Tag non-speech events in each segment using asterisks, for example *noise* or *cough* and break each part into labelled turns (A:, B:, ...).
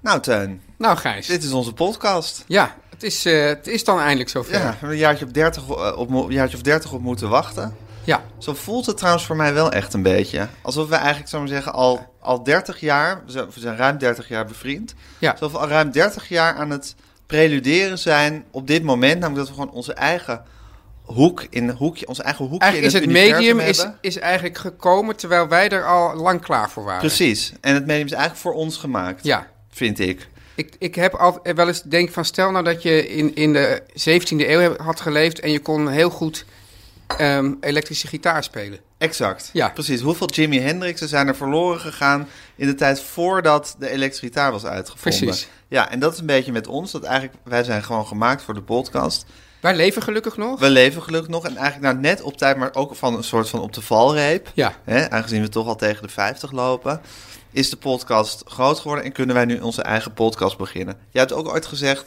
A: Nou, Teun,
B: Nou, Gijs.
A: dit is onze podcast.
B: Ja, het is, eh, het is dan eindelijk zover.
A: Ja, we hebben een jaartje op 30 eh, op, mo- jaartje of 30 op moeten wachten.
B: ja.
A: Zo voelt het trouwens voor mij wel echt een beetje. Alsof we eigenlijk, zou maar zeggen, al, al 30 jaar, we zijn, we zijn ruim 30 jaar bevriend.
B: Ja.
A: Alsof we al ruim 30 jaar aan het preluderen zijn op dit moment. Namelijk dat we gewoon onze eigen hoek in hoekje, ons eigen hoekje
B: Eigenlijk is
A: in
B: het
A: het, universum
B: medium is,
A: hebben.
B: is eigenlijk gekomen terwijl wij er al lang klaar voor waren.
A: Precies. En het medium is eigenlijk voor ons gemaakt.
B: Ja.
A: Vind ik.
B: Ik, ik heb al, eh, wel eens denk van stel nou dat je in, in de 17e eeuw heb- had geleefd en je kon heel goed ehm, elektrische gitaar spelen.
A: Exact.
B: Ja.
A: Precies. Hoeveel Jimi Hendrixen zijn er verloren gegaan in de tijd voordat de elektrische gitaar was uitgevonden?
B: Precies.
A: Ja, en dat is een beetje met ons. Dat eigenlijk, wij zijn gewoon gemaakt voor de podcast.
B: Wij leven gelukkig nog.
A: We leven gelukkig nog en eigenlijk nou net op tijd, maar ook van een soort van op de valreep.
B: Ja.
A: Hè, aangezien we toch al tegen de 50 lopen, is de podcast groot geworden en kunnen wij nu onze eigen podcast beginnen. Jij hebt ook ooit gezegd,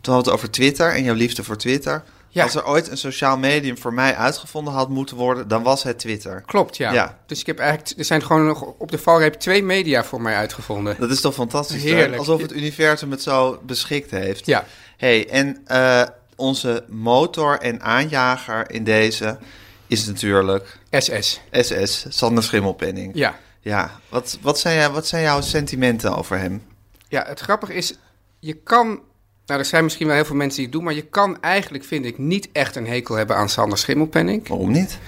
A: toen hadden we het over Twitter en jouw liefde voor Twitter.
B: Ja.
A: Als er ooit een sociaal medium voor mij uitgevonden had moeten worden, dan was het Twitter.
B: Klopt, ja.
A: Ja.
B: Dus ik heb eigenlijk, er zijn gewoon nog op de valreep twee media voor mij uitgevonden.
A: Dat is toch fantastisch? hè?
B: Heerlijk.
A: Alsof het universum het zo beschikt heeft.
B: Ja.
A: hey, en eh, onze motor en aanjager in deze is natuurlijk
B: SS.
A: SS, Sander Schimmelpenning.
B: Ja.
A: Ja, wat, wat, zijn, jij- wat zijn jouw sentimenten over hem?
B: Ja, het grappige is, je kan... Nou, er zijn misschien wel heel veel mensen die het doen... maar je kan eigenlijk, vind ik, niet echt een hekel hebben aan Sander Schimmelpenninck.
A: Waarom niet?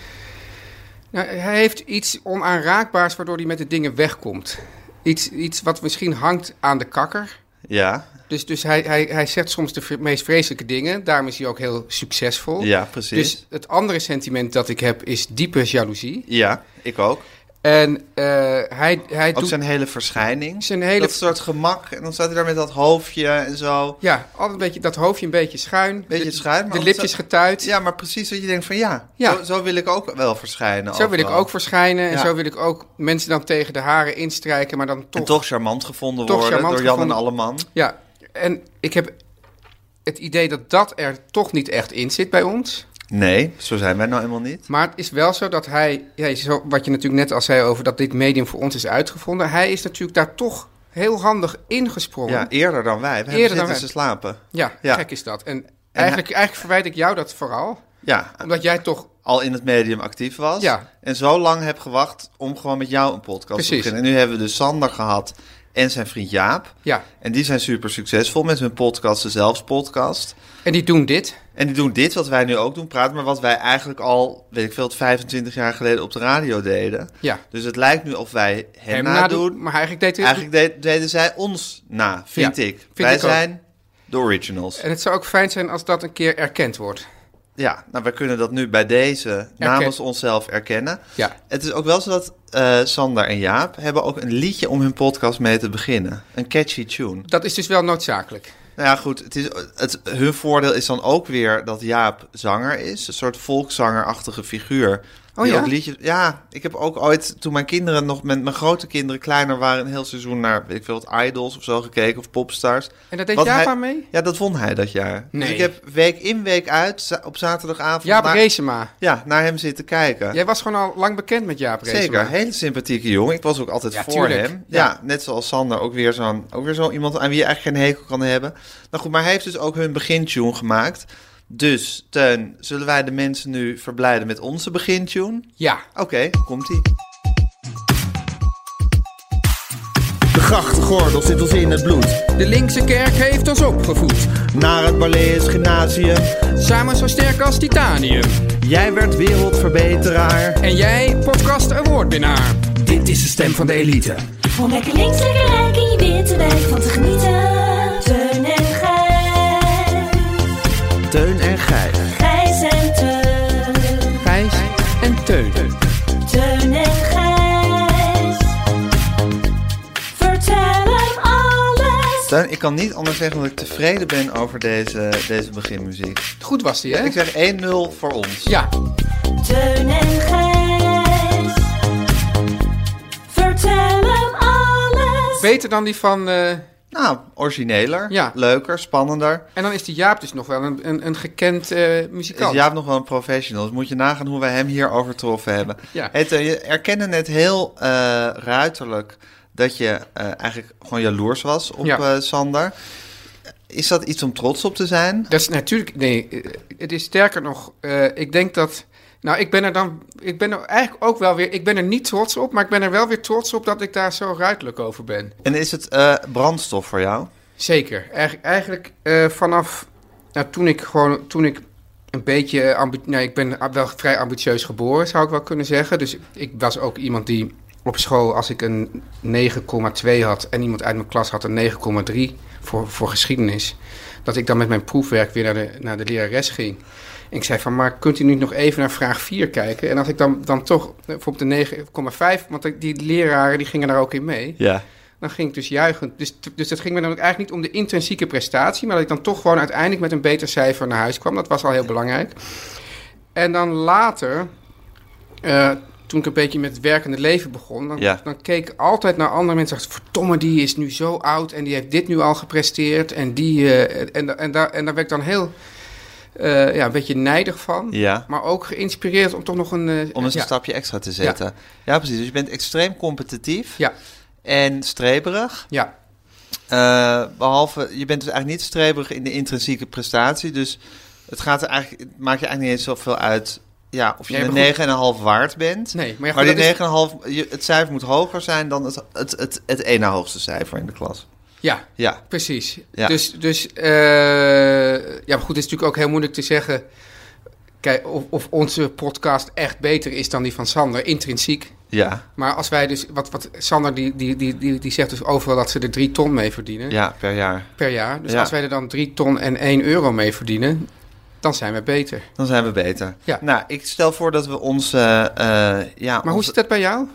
B: Nou, hij heeft iets onaanraakbaars waardoor hij met de dingen wegkomt. Iets, iets wat misschien hangt aan de kakker.
A: Ja,
B: Dus, dus hij, hij, hij zegt soms de v- meest vreselijke dingen. Daarom is hij ook heel succesvol.
A: ja precies.
B: Dus het andere sentiment dat ik heb is diepe jaloezie.
A: Ja, ik ook.
B: En eh, hij, hij
A: Ook
B: doet...
A: zijn hele verschijning.
B: Zijn hele-
A: Dat soort gemak. En dan staat hij daar met dat hoofdje en zo.
B: Ja, altijd een beetje, dat hoofdje een beetje schuin.
A: Beetje
B: de,
A: schuin, maar
B: De
A: ook
B: lipjes
A: zo-
B: getuid.
A: Ja, maar precies wat je denkt van ja,
B: Ja.
A: Zo, zo wil ik ook wel verschijnen.
B: Zo wil ik
A: overal.
B: ook verschijnen en
A: Ja.
B: zo wil ik ook mensen dan tegen de haren instrijken, maar dan
A: En
B: toch.
A: toch charmant gevonden
B: Toch
A: worden
B: charmant
A: door Jan
B: gevonden.
A: en Alleman.
B: Ja, en ik heb het idee dat dat er toch niet echt in zit bij ons.
A: Nee, zo zijn wij nou helemaal niet.
B: Maar het is wel zo dat hij, ja, zo, wat je natuurlijk net al zei over dat dit medium voor ons is uitgevonden, hij is natuurlijk daar toch heel handig ingesprongen.
A: Ja, eerder dan wij. We hebben
B: Oh. Eerder
A: zitten
B: dan wij.
A: te slapen.
B: Ja,
A: Ja.
B: gek is dat. En, eigenlijk, eigenlijk verwijt ik jou dat vooral,
A: Ja,
B: omdat jij toch
A: al in het medium actief was.
B: Ja.
A: En zo lang heb gewacht om gewoon met jou een podcast te
B: Precies.
A: beginnen. En nu hebben we dus Sander gehad en zijn vriend Jaap.
B: Ja.
A: En die zijn super succesvol met hun podcast, de Zelfs podcast.
B: en die doen dit.
A: En die doen dit wat wij nu ook doen, praten, maar wat wij eigenlijk al, weet ik veel, 25 jaar geleden op de radio deden.
B: Ja.
A: Dus het lijkt nu of wij hen nadoen.
B: maar eigenlijk deed hij
A: Eigenlijk deed- deden zij ons na, vind
B: Ja,
A: ik.
B: vind
A: wij
B: ik ook. Eh.
A: zijn de originals.
B: En het zou ook fijn zijn als dat een keer erkend wordt.
A: Ja, nou, wij kunnen dat nu bij deze namens onszelf erkennen.
B: Ja.
A: Het is ook wel zo dat eh, Sander en Jaap hebben ook een liedje om hun podcast mee te beginnen. Een catchy tune.
B: Dat is dus wel noodzakelijk.
A: Nou ja, goed. Het is, het, hun voordeel is dan ook weer dat Jaap zanger is. Een soort volkszangerachtige figuur
B: Oh
A: Die
B: ja?
A: ook liedjes. Ja, ik heb ook ooit, toen mijn kinderen nog met mijn grote kinderen kleiner waren, een heel seizoen naar, weet ik veel, wat Idols of zo gekeken of Popstars.
B: En dat deed
A: Wat
B: Java
A: hij-
B: mee?
A: Ja, dat won hij dat jaar. Dus
B: Nee.
A: ik heb week in, week uit, za- op zaterdagavond,
B: Jaap
A: naar,
B: Reesema.
A: ja, naar hem zitten kijken.
B: Jij was gewoon al lang bekend met Jaap Reesema.
A: Zeker, hele sympathieke jongen. Ik was ook altijd
B: Ja,
A: voor
B: tuurlijk.
A: hem.
B: Ja.
A: Ja. net zoals Sander, ook weer zo'n ook weer zo iemand aan wie je eigenlijk geen hekel kan hebben. Nou goed, maar hij heeft dus ook hun begintune gemaakt. Dus, Teun, zullen wij de mensen nu verblijden met onze begintune?
B: Ja.
A: Oké, komt-ie.
C: De grachtgordel zit ons in het bloed.
B: De linkse kerk heeft ons opgevoed.
C: Naar het Barlees Gymnasium.
B: Samen zo sterk als titanium.
C: Jij werd wereldverbeteraar.
B: En jij, podcast awardwinnaar.
C: Dit is de stem van de elite.
D: Om lekker links, lekker rijk in je witte wijk van te genieten. Teun en Gijs,
C: Teun en Gijs.
D: Gijs en Teun.
B: Gijs en Teun.
D: Teun en Gijs. Vertel hem alles.
A: Teun, ik kan niet anders zeggen dat ik tevreden ben over deze, deze beginmuziek.
B: Goed was die, hè?
A: Ik zeg 1-0 voor ons.
B: Ja.
D: Teun en Gijs. Vertel hem alles.
B: Beter dan die van... eh,
A: Nou, origineler,
B: Ja.
A: leuker, spannender.
B: En dan is die Jaap dus nog wel een, een, een gekend eh,
A: Is
B: muzikant.
A: Jaap nog wel een professional? Dus moet je nagaan hoe wij hem hier overtroffen hebben.
B: Ja.
A: Hey, Teun, je erkende net heel eh, ruiterlijk dat je eh, eigenlijk gewoon jaloers was op
B: Ja.
A: eh, Sander. Is dat iets om trots op te zijn?
B: Dat is natuurlijk... Nee, eh, het is sterker nog... eh, ik denk dat... Nou, ik ben er dan... Ik ben er eigenlijk ook wel weer... Ik ben er niet trots op, maar ik ben er wel weer trots op dat ik daar zo ruidelijk over ben.
A: En is het eh, brandstof voor jou?
B: Zeker. Eigen- eigenlijk eh, vanaf nou, toen ik gewoon toen ik een beetje ambi- nee, ik ben wel vrij ambitieus geboren, zou ik wel kunnen zeggen. Dus ik was ook iemand die op school, als ik een 9,2 had en iemand uit mijn klas had een 9,3 voor, voor geschiedenis, dat ik dan met mijn proefwerk weer naar de, naar de lerares ging. En ik zei van, maar kunt u nu nog even naar vraag 4 kijken? En als ik dan, dan toch eh, bijvoorbeeld de 9,5, want die leraren die gingen daar ook in mee
A: Ja.
B: dan ging ik dus juichend. Dus, dus dat ging me dan ook eigenlijk niet om de intrinsieke prestatie, maar dat ik dan toch gewoon uiteindelijk met een beter cijfer naar huis kwam. Dat was al heel belangrijk. En dan later, eh, toen ik een beetje met het werkende leven begon, dan,
A: Ja.
B: dan keek ik altijd naar andere mensen. en Dacht, verdomme, die is nu zo oud en die heeft dit nu al gepresteerd. En, die, eh, en, en, en, daar, en daar werd ik dan heel eh, ja, een beetje nijdig van.
A: Ja.
B: Maar ook geïnspireerd om toch nog een. eh,
A: Om eens
B: ja,
A: een stapje extra te zetten. Ja. precies. Dus je bent extreem competitief
B: Ja,
A: en streberig.
B: ja.
A: Eh, behalve, je bent dus eigenlijk niet streberig in de intrinsieke prestatie. Dus het, gaat er eigenlijk, het maakt je eigenlijk niet eens zoveel uit ja, of je
B: Nee, maar goed.
A: een 9,5 waard bent.
B: Nee, maar ja,
A: maar
B: goed,
A: die
B: dat is-
A: 9,5, je- het cijfer moet hoger zijn dan het, het, het, het ene hoogste cijfer in de klas.
B: ja.
A: Ja,
B: Precies.
A: Ja.
B: Dus, dus eh, ja, maar goed, het is natuurlijk ook heel moeilijk te zeggen. Kijk, of, of onze podcast echt beter is dan die van Sander, intrinsiek.
A: ja,
B: Maar als wij dus, wat, wat Sander die, die, die, die, die zegt dus overal dat ze er drie ton mee verdienen
A: ja, per jaar.
B: per jaar. Dus
A: Ja.
B: als wij er dan drie ton en één euro mee verdienen, dan zijn we beter.
A: Dan zijn we beter.
B: Ja.
A: Nou, ik stel voor dat we ons... eh, eh, ja,
B: Maar hoe
A: onze-
B: zit dat bij jou?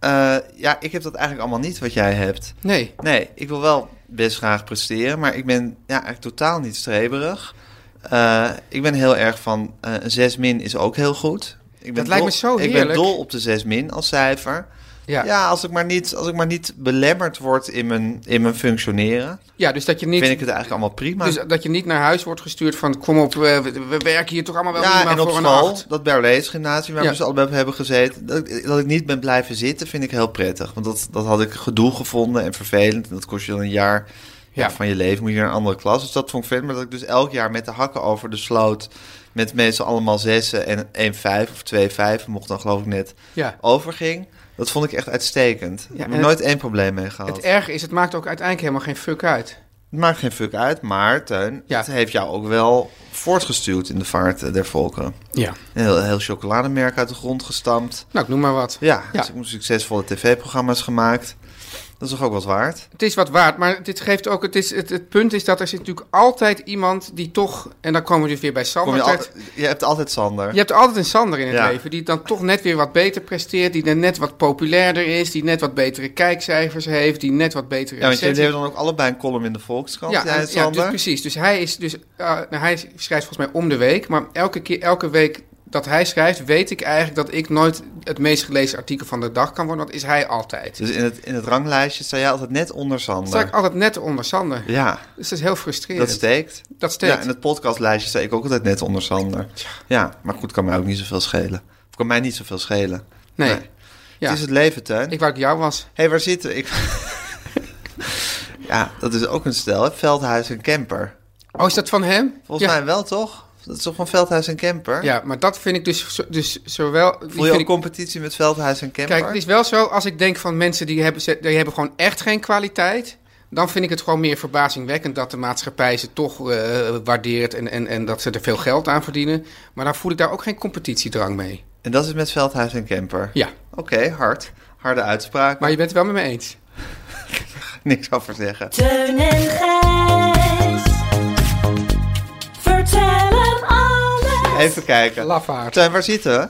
A: eh, ja, ik heb dat eigenlijk allemaal niet wat jij hebt.
B: Nee.
A: Nee, ik wil wel best graag presteren, maar ik ben ja, eigenlijk totaal niet streberig. Eh, ik ben heel erg van eh, een 6 min is ook heel goed. Ik ben
B: Dat lijkt me
A: dol-
B: zo
A: Ik ben
B: heerlijk.
A: dol op de 6 min als cijfer.
B: Ja.
A: Ja,
B: Ja.
A: als, ik maar niet, als ik maar niet belemmerd word in mijn, in mijn functioneren,
B: dus dat je niet.
A: vind ik het eigenlijk allemaal prima.
B: dus dat je niet naar huis wordt gestuurd van kom op, eh, we, we werken hier toch allemaal wel
A: ja,
B: minimaal
A: Nou, en op
B: voor een
A: school,
B: acht.
A: dat Berlees gymnasium waar
B: Ja.
A: we dus allebei op hebben gezeten, dat, ik- dat ik niet ben blijven zitten, vind ik heel prettig. Want dat, dat had ik gedoe gevonden en vervelend. En dat kost je dan een jaar ja,
B: Ja.
A: van je leven, moet je naar een andere klas. Dus dat vond ik vet, maar dat ik dus elk jaar met de hakken over de sloot, met meestal allemaal zessen en 1,5 of 2,5, mocht dan geloof ik net,
B: Ja. overging.
A: overging. Dat vond ik echt uitstekend. ik
B: en
A: heb er
B: het-
A: nooit één probleem mee gehad.
B: Het e-
A: Het,
B: erge is, het maakt ook uiteindelijk helemaal geen fuck uit.
A: maakt geen fuck uit, maar Teun,
B: Ja.
A: het heeft jou ook wel voortgestuurd in de vaart eh, der volkeren.
B: Ja.
A: Een heel, heel chocolademerk uit de grond gestampt.
B: Nou, ik noem maar wat.
A: Ja,
B: Ja.
A: dus ik heb succesvolle tv-programma's gemaakt. Dat is toch ook wat waard?
B: Het is wat waard, maar dit geeft ook, het, is, het, het punt is dat er zit natuurlijk altijd iemand die toch, en dan komen we dus weer bij
A: Kom
B: Sander
A: je,
B: terecht.
A: altijd, je hebt altijd Sander.
B: Je hebt altijd een Sander in het
A: Ja.
B: leven die dan toch net weer wat beter presteert, die dan net wat populairder is, die net wat betere kijkcijfers heeft, die net wat betere
A: ja, want jullie
B: recensies-
A: hebben dan ook allebei een column in de Volkskrant.
B: Ja, dus
A: jij en
B: en- ja,
A: Sander.
B: dus precies. Dus hij is dus, eh, nou, hij schrijft volgens mij om de week, maar elke keer, elke week dat hij schrijft, weet ik eigenlijk dat ik nooit het meest gelezen artikel van de dag kan worden. Dat is hij altijd.
A: Dus in het, in het ranglijstje sta jij altijd net onder
B: Dan
A: Sander.
B: sta ik altijd net onder Sander.
A: Ja,
B: Dus dat is heel frustrerend.
A: dat steekt.
B: Dat steekt.
A: Ja, in het podcastlijstje sta ik ook altijd net onder Sander. Ja, maar goed, kan mij ook niet zoveel schelen. Of kan mij niet zoveel schelen.
B: Nee. Ja.
A: Het is het leven, Teun.
B: Ik wou dat ik jou was.
A: Hé, hey, waar zitten? Ik... *laughs* ja, dat is ook een stel, hè? Veldhuis en Kemper.
B: Oh, is dat van hem?
A: Volgens
B: ja.
A: mij wel, toch? Dat is toch van Veldhuis en Kemper?
B: Ja, maar dat vind ik dus, zo- dus zowel...
A: Voel
B: die vind
A: je ook
B: ik-
A: competitie met Veldhuis en Kemper?
B: Kijk, het is wel zo, als ik denk van mensen die hebben, ze- die hebben gewoon echt geen kwaliteit... dan vind ik het gewoon meer verbazingwekkend dat de maatschappij ze toch eh, waardeert... En, en, en dat ze er veel geld aan verdienen. Maar dan voel ik daar ook geen competitiedrang mee.
A: En dat is met Veldhuis en Kemper?
B: Ja,
A: Oké, hard. Harde uitspraak.
B: maar je bent het wel met me eens.
A: *laughs* Niks over zeggen.
D: Teun en Gijs. Vertel hem alles.
A: Even kijken.
B: Lafaard.
A: Teun, waar zitten we?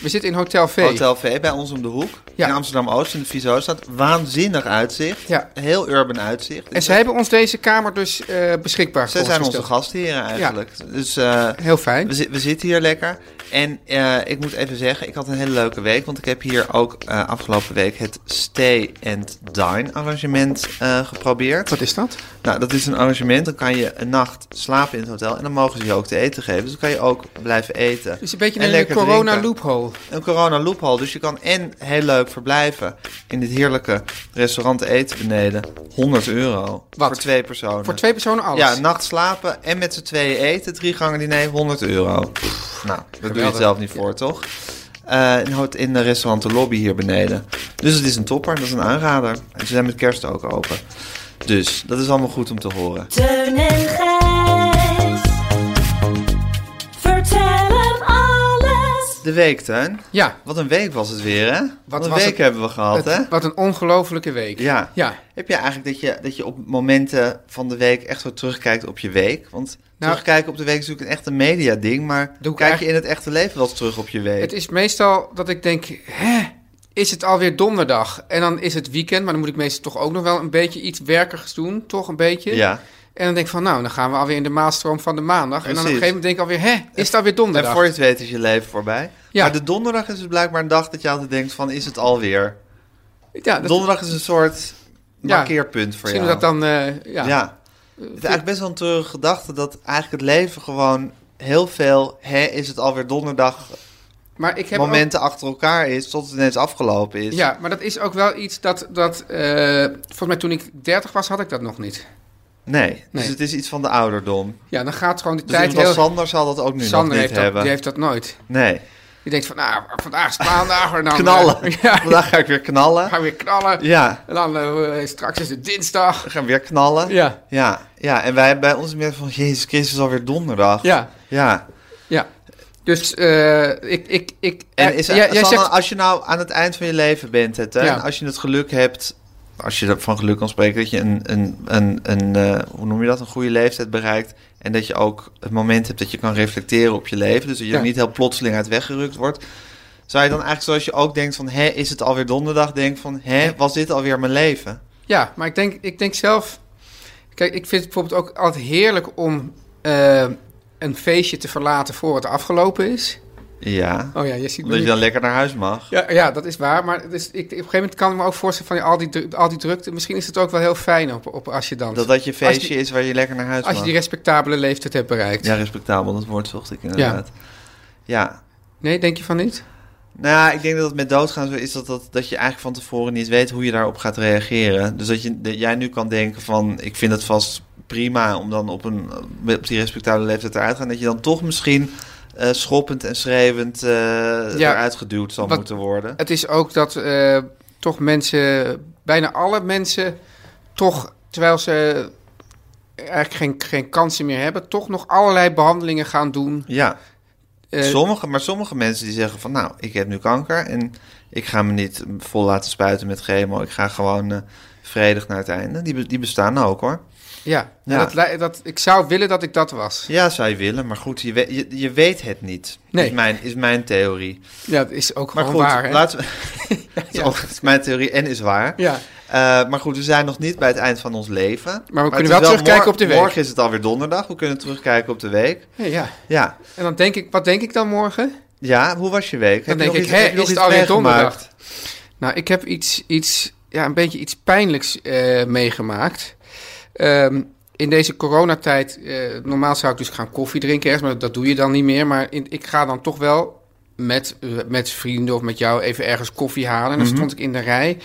B: We zitten in Hotel V.
A: Hotel V, bij ons om de hoek.
B: Ja.
A: In Amsterdam-Oost, in de Vieshoofdstad. Waanzinnig uitzicht.
B: Ja.
A: Heel urban uitzicht.
B: En ze hebben ons deze kamer dus eh, beschikbaar
A: Zij zijn onze
B: gesteld.
A: gastheren eigenlijk. Dus eh,
B: Heel fijn.
A: we, zi- we zitten hier lekker. En eh, ik moet even zeggen, ik had een hele leuke week. Want ik heb hier ook eh, afgelopen week het Stay and Dine arrangement eh, geprobeerd.
B: Wat is dat?
A: Nou, dat is een arrangement. Dan kan je een nacht slapen in het hotel. En dan mogen ze je ook te eten geven. Dus dan kan je ook blijven eten.
B: Dus een beetje
A: En
B: een
A: lekker
B: corona
A: drinken.
B: loophole.
A: Een corona loophole. Dus je kan en heel leuk verblijven in dit heerlijke restaurant eten beneden. 100 euro.
B: Wat?
A: Voor twee personen.
B: Voor twee personen alles.
A: Ja, nou, een nacht slapen en met z'n tweeën eten. Drie gangen diner, 100 euro. nou, daar doe je het zelf niet voor, toch? Eh, in hot- in de restaurant De Lobby hier beneden. Dus het is een topper, dat is een aanrader. En ze zijn met kerst ook open. Dus dat is allemaal goed om te horen.
D: Teun en Gijs. Vertel hem alles.
A: De week, Tuin.
B: Ja,
A: Wat een week was het weer, hè? Wat, een
B: was
A: week
B: het-
A: hebben we gehad,
B: het-
A: hè?
B: wat een ongelofelijke week.
A: Ja.
B: Ja.
A: Heb je eigenlijk dat je, dat je op momenten van de week echt zo terugkijkt op je week? Want terugkijken op de week is natuurlijk een echt een media-ding. Maar
B: Nou- Doe ik
A: kijk je in
B: eigenlijk-
A: het echte leven wel eens terug op je week?
B: Het is meestal dat ik denk, hè, is het alweer donderdag? En dan is het weekend, maar dan moet ik meestal toch ook nog wel een beetje iets werkigs doen. Toch een beetje.
A: Ja.
B: En dan denk ik van, nou, dan gaan we alweer in de maalstroom van de maandag. En dan op een
A: Precies.
B: gegeven moment denk ik alweer, hè, is het alweer donderdag?
A: En voor je het weet is je leven voorbij.
B: Ja.
A: Maar de donderdag is het blijkbaar een dag dat je altijd denkt van, is het alweer?
B: Ja, dat,
A: Donderdag is een soort
B: Ja.
A: markeerpunt voor
B: zien we
A: jou.
B: dat dan, eh, ja.
A: Ja. Het is eigenlijk best wel een treurige gedachte dat eigenlijk het leven gewoon heel veel, hè, is het alweer donderdag,
B: Maar ik heb ook-
A: momenten achter elkaar is, tot het ineens afgelopen is.
B: Ja, maar dat is ook wel iets dat, dat eh, volgens mij toen ik 30 was, had ik dat nog niet.
A: Nee. dus
B: Nee.
A: het is iets van de ouderdom.
B: Ja, dan gaat gewoon de
A: Dus
B: tijd
A: iemand als
B: heel...
A: Sander zal dat ook nu nog
B: Sander
A: niet
B: heeft dat,
A: hebben.
B: die heeft dat nooit.
A: Nee,
B: Die denkt van, nou, vandaag is maandag. en dan, eh,
A: *laughs*
B: *laughs*
A: knallen.
B: ja, dan
A: Vandaag ga ik weer knallen.
B: gaan we weer knallen.
A: Ja,
B: En dan eh, straks is het dinsdag.
A: we gaan weer knallen.
B: Ja,
A: *laughs* Ja, ja, en wij bij ons meer van Jezus Christus is alweer donderdag.
B: ja,
A: Ja.
B: ja. Dus eh, ik, ik, ik...
A: En
B: eh,
A: is,
B: jij, jij
A: Sanne,
B: zegt,
A: als je nou aan het eind van je leven bent, het, hè,
B: Ja.
A: en als je het geluk hebt, als je er van geluk kan spreken, dat je een, een, een, een eh, hoe noem je dat, een goede leeftijd bereikt. En dat je ook het moment hebt dat je kan reflecteren op je leven. Dus dat je
B: Ja.
A: er niet heel plotseling uit weggerukt wordt. Zou je dan eigenlijk zoals je ook denkt van, hè, is het alweer donderdag? Denk van, hè, was dit alweer mijn leven?
B: ja, maar ik denk, ik denk zelf... Kijk, ik vind het bijvoorbeeld ook altijd heerlijk om eh, een feestje te verlaten voor het afgelopen is.
A: Ja,
B: Oh ja, je ziet me
A: omdat je
B: niet.
A: dan lekker naar huis mag.
B: Ja, ja, dat is waar. Maar dus ik, op een gegeven moment kan ik me ook voorstellen van ja, al die, dru- al die drukte. Misschien is het ook wel heel fijn op, op als je dan.
A: Dat dat je
B: je-
A: feestje is waar je lekker naar huis
B: als je
A: mag.
B: die respectabele leeftijd hebt bereikt.
A: Ja, respectabel, dat woord zocht ik inderdaad. ja,
B: Nee, denk je van niet?
A: Nou ja, ik denk dat het met doodgaan zo is dat, dat, dat je eigenlijk van tevoren niet weet hoe je daarop gaat reageren. Dus dat, je, dat jij nu kan denken van, ik vind het vast prima om dan op, een, op die respectabele leeftijd eruit te gaan. Dat je dan toch misschien eh, schoppend en schreeuwend eh eruit geduwd zal
B: Wat-
A: moeten worden.
B: Het is ook dat eh, toch mensen, bijna alle mensen, toch terwijl ze eigenlijk geen, geen kansen meer hebben, toch nog allerlei behandelingen gaan doen.
A: Ja,
B: Eh,
A: sommige, maar sommige mensen die zeggen van, nou, ik heb nu kanker en ik ga me niet vol laten spuiten met chemo. Ik ga gewoon eh, vredig naar het einde. Die, be- die bestaan ook hoor.
B: ja,
A: Ja.
B: Dat, li- dat, ik zou willen dat ik dat was.
A: Ja, zou je willen, maar goed, je, we- je, je weet het niet.
B: Nee.
A: Is mijn, is mijn theorie.
B: Ja, dat is ook
A: Maar
B: gewoon
A: goed,
B: *laughs* waar. Hè?
A: laten we. Dat is ook- dat is mijn theorie en is waar.
B: Ja.
A: Eh, maar goed, we zijn nog niet bij het eind van ons leven. Maar we
B: kunnen wel terugkijken op de week.
A: Morgen is het alweer donderdag. We kunnen terugkijken op de week.
B: Ja, ja.
A: Ja,
B: En dan denk ik, wat denk ik dan morgen?
A: ja hoe was je week?
B: Dan
A: Heb je
B: denk
A: nog
B: ik,
A: iets-
B: hè,
A: heb je nog
B: is het
A: iets
B: alweer
A: meegemaakt?
B: donderdag? Nou, ik heb iets, iets ja, een beetje iets pijnlijks eh, meegemaakt. Ehm, in deze coronatijd, eh, normaal zou ik dus gaan koffie drinken ergens, maar dat doe je dan niet meer. Maar in- ik ga dan toch wel met, eh, met vrienden of met jou even ergens koffie halen. En dan
A: Mhm.
B: stond ik in de rij,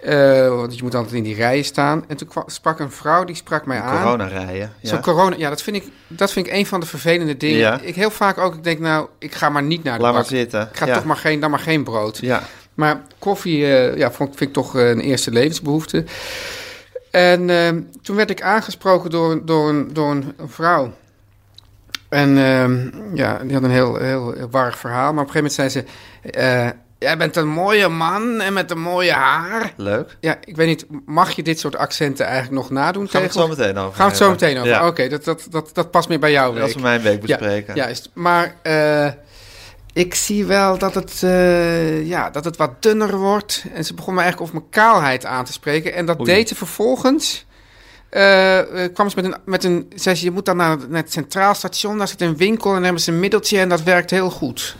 B: eh, want je moet altijd in die rijen staan. En toen kwa- sprak een vrouw, die sprak mij aan.
A: Corona rijden. Ja.
B: Zo'n corona, ja, dat vind, ik, dat vind ik een van de vervelende dingen.
A: Ja.
B: Ik heel vaak ook, ik denk nou, ik ga maar niet naar de
A: Laat maar
B: bak.
A: zitten.
B: Ik ga
A: ja.
B: toch maar geen, dan maar geen brood.
A: Ja.
B: Maar koffie eh, ja, vond, vind ik toch eh, een eerste levensbehoefte. En ehm, toen werd ik aangesproken door, een- door, een, door een vrouw. En ehm, ja, die had een heel, heel warrig verhaal. Maar op een gegeven moment zei ze... eh, Jij bent een mooie man en met een mooie haar.
A: Leuk.
B: Ja, ik weet niet, mag je dit soort accenten eigenlijk nog nadoen
A: Gaan we het
B: tegenwoordig?
A: zo meteen over
B: Gaan we het zo
A: hebben.
B: meteen over.
A: Ja.
B: Oké, dat, dat, dat, dat past meer bij jou.
A: Als we mijn week bespreken.
B: Ja, juist. Maar eh, ik zie wel dat het, eh, ja, dat het wat dunner wordt. En ze begon me eigenlijk over mijn kaalheid aan te spreken. En dat
A: Oei.
B: deed ze vervolgens. eh, eh, kwam ze met een, met een. Zei ze: Je moet dan naar, naar het centraal station. Daar zit een winkel en daar hebben ze een middeltje. En dat werkt heel goed.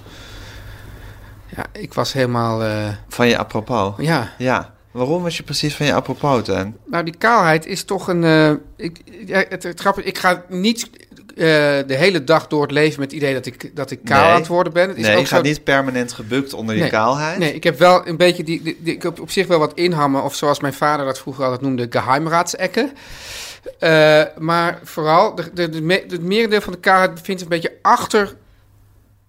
B: Ja, ik was helemaal. eh,
A: Van je apropos.
B: ja.
A: Ja. Waarom was je precies van je apropos, Teun?
B: Nou, die kaalheid is toch een. eh, ik, ja, het, het grappige, ik ga niet eh, de hele dag door het leven met het idee dat ik, dat ik kaal
A: Nee.
B: aan het worden ben. Het is
A: Nee,
B: ook
A: je gaat
B: zo-
A: niet permanent gebukt onder je
B: Nee.
A: kaalheid.
B: Nee, ik heb wel een beetje die, die, die- Ik heb op zich wel wat inhammen, of zoals mijn vader dat vroeger altijd noemde, geheimraadsekken. Eh, maar vooral, de, de, de me- het merendeel van de kaalheid bevindt zich een beetje achter.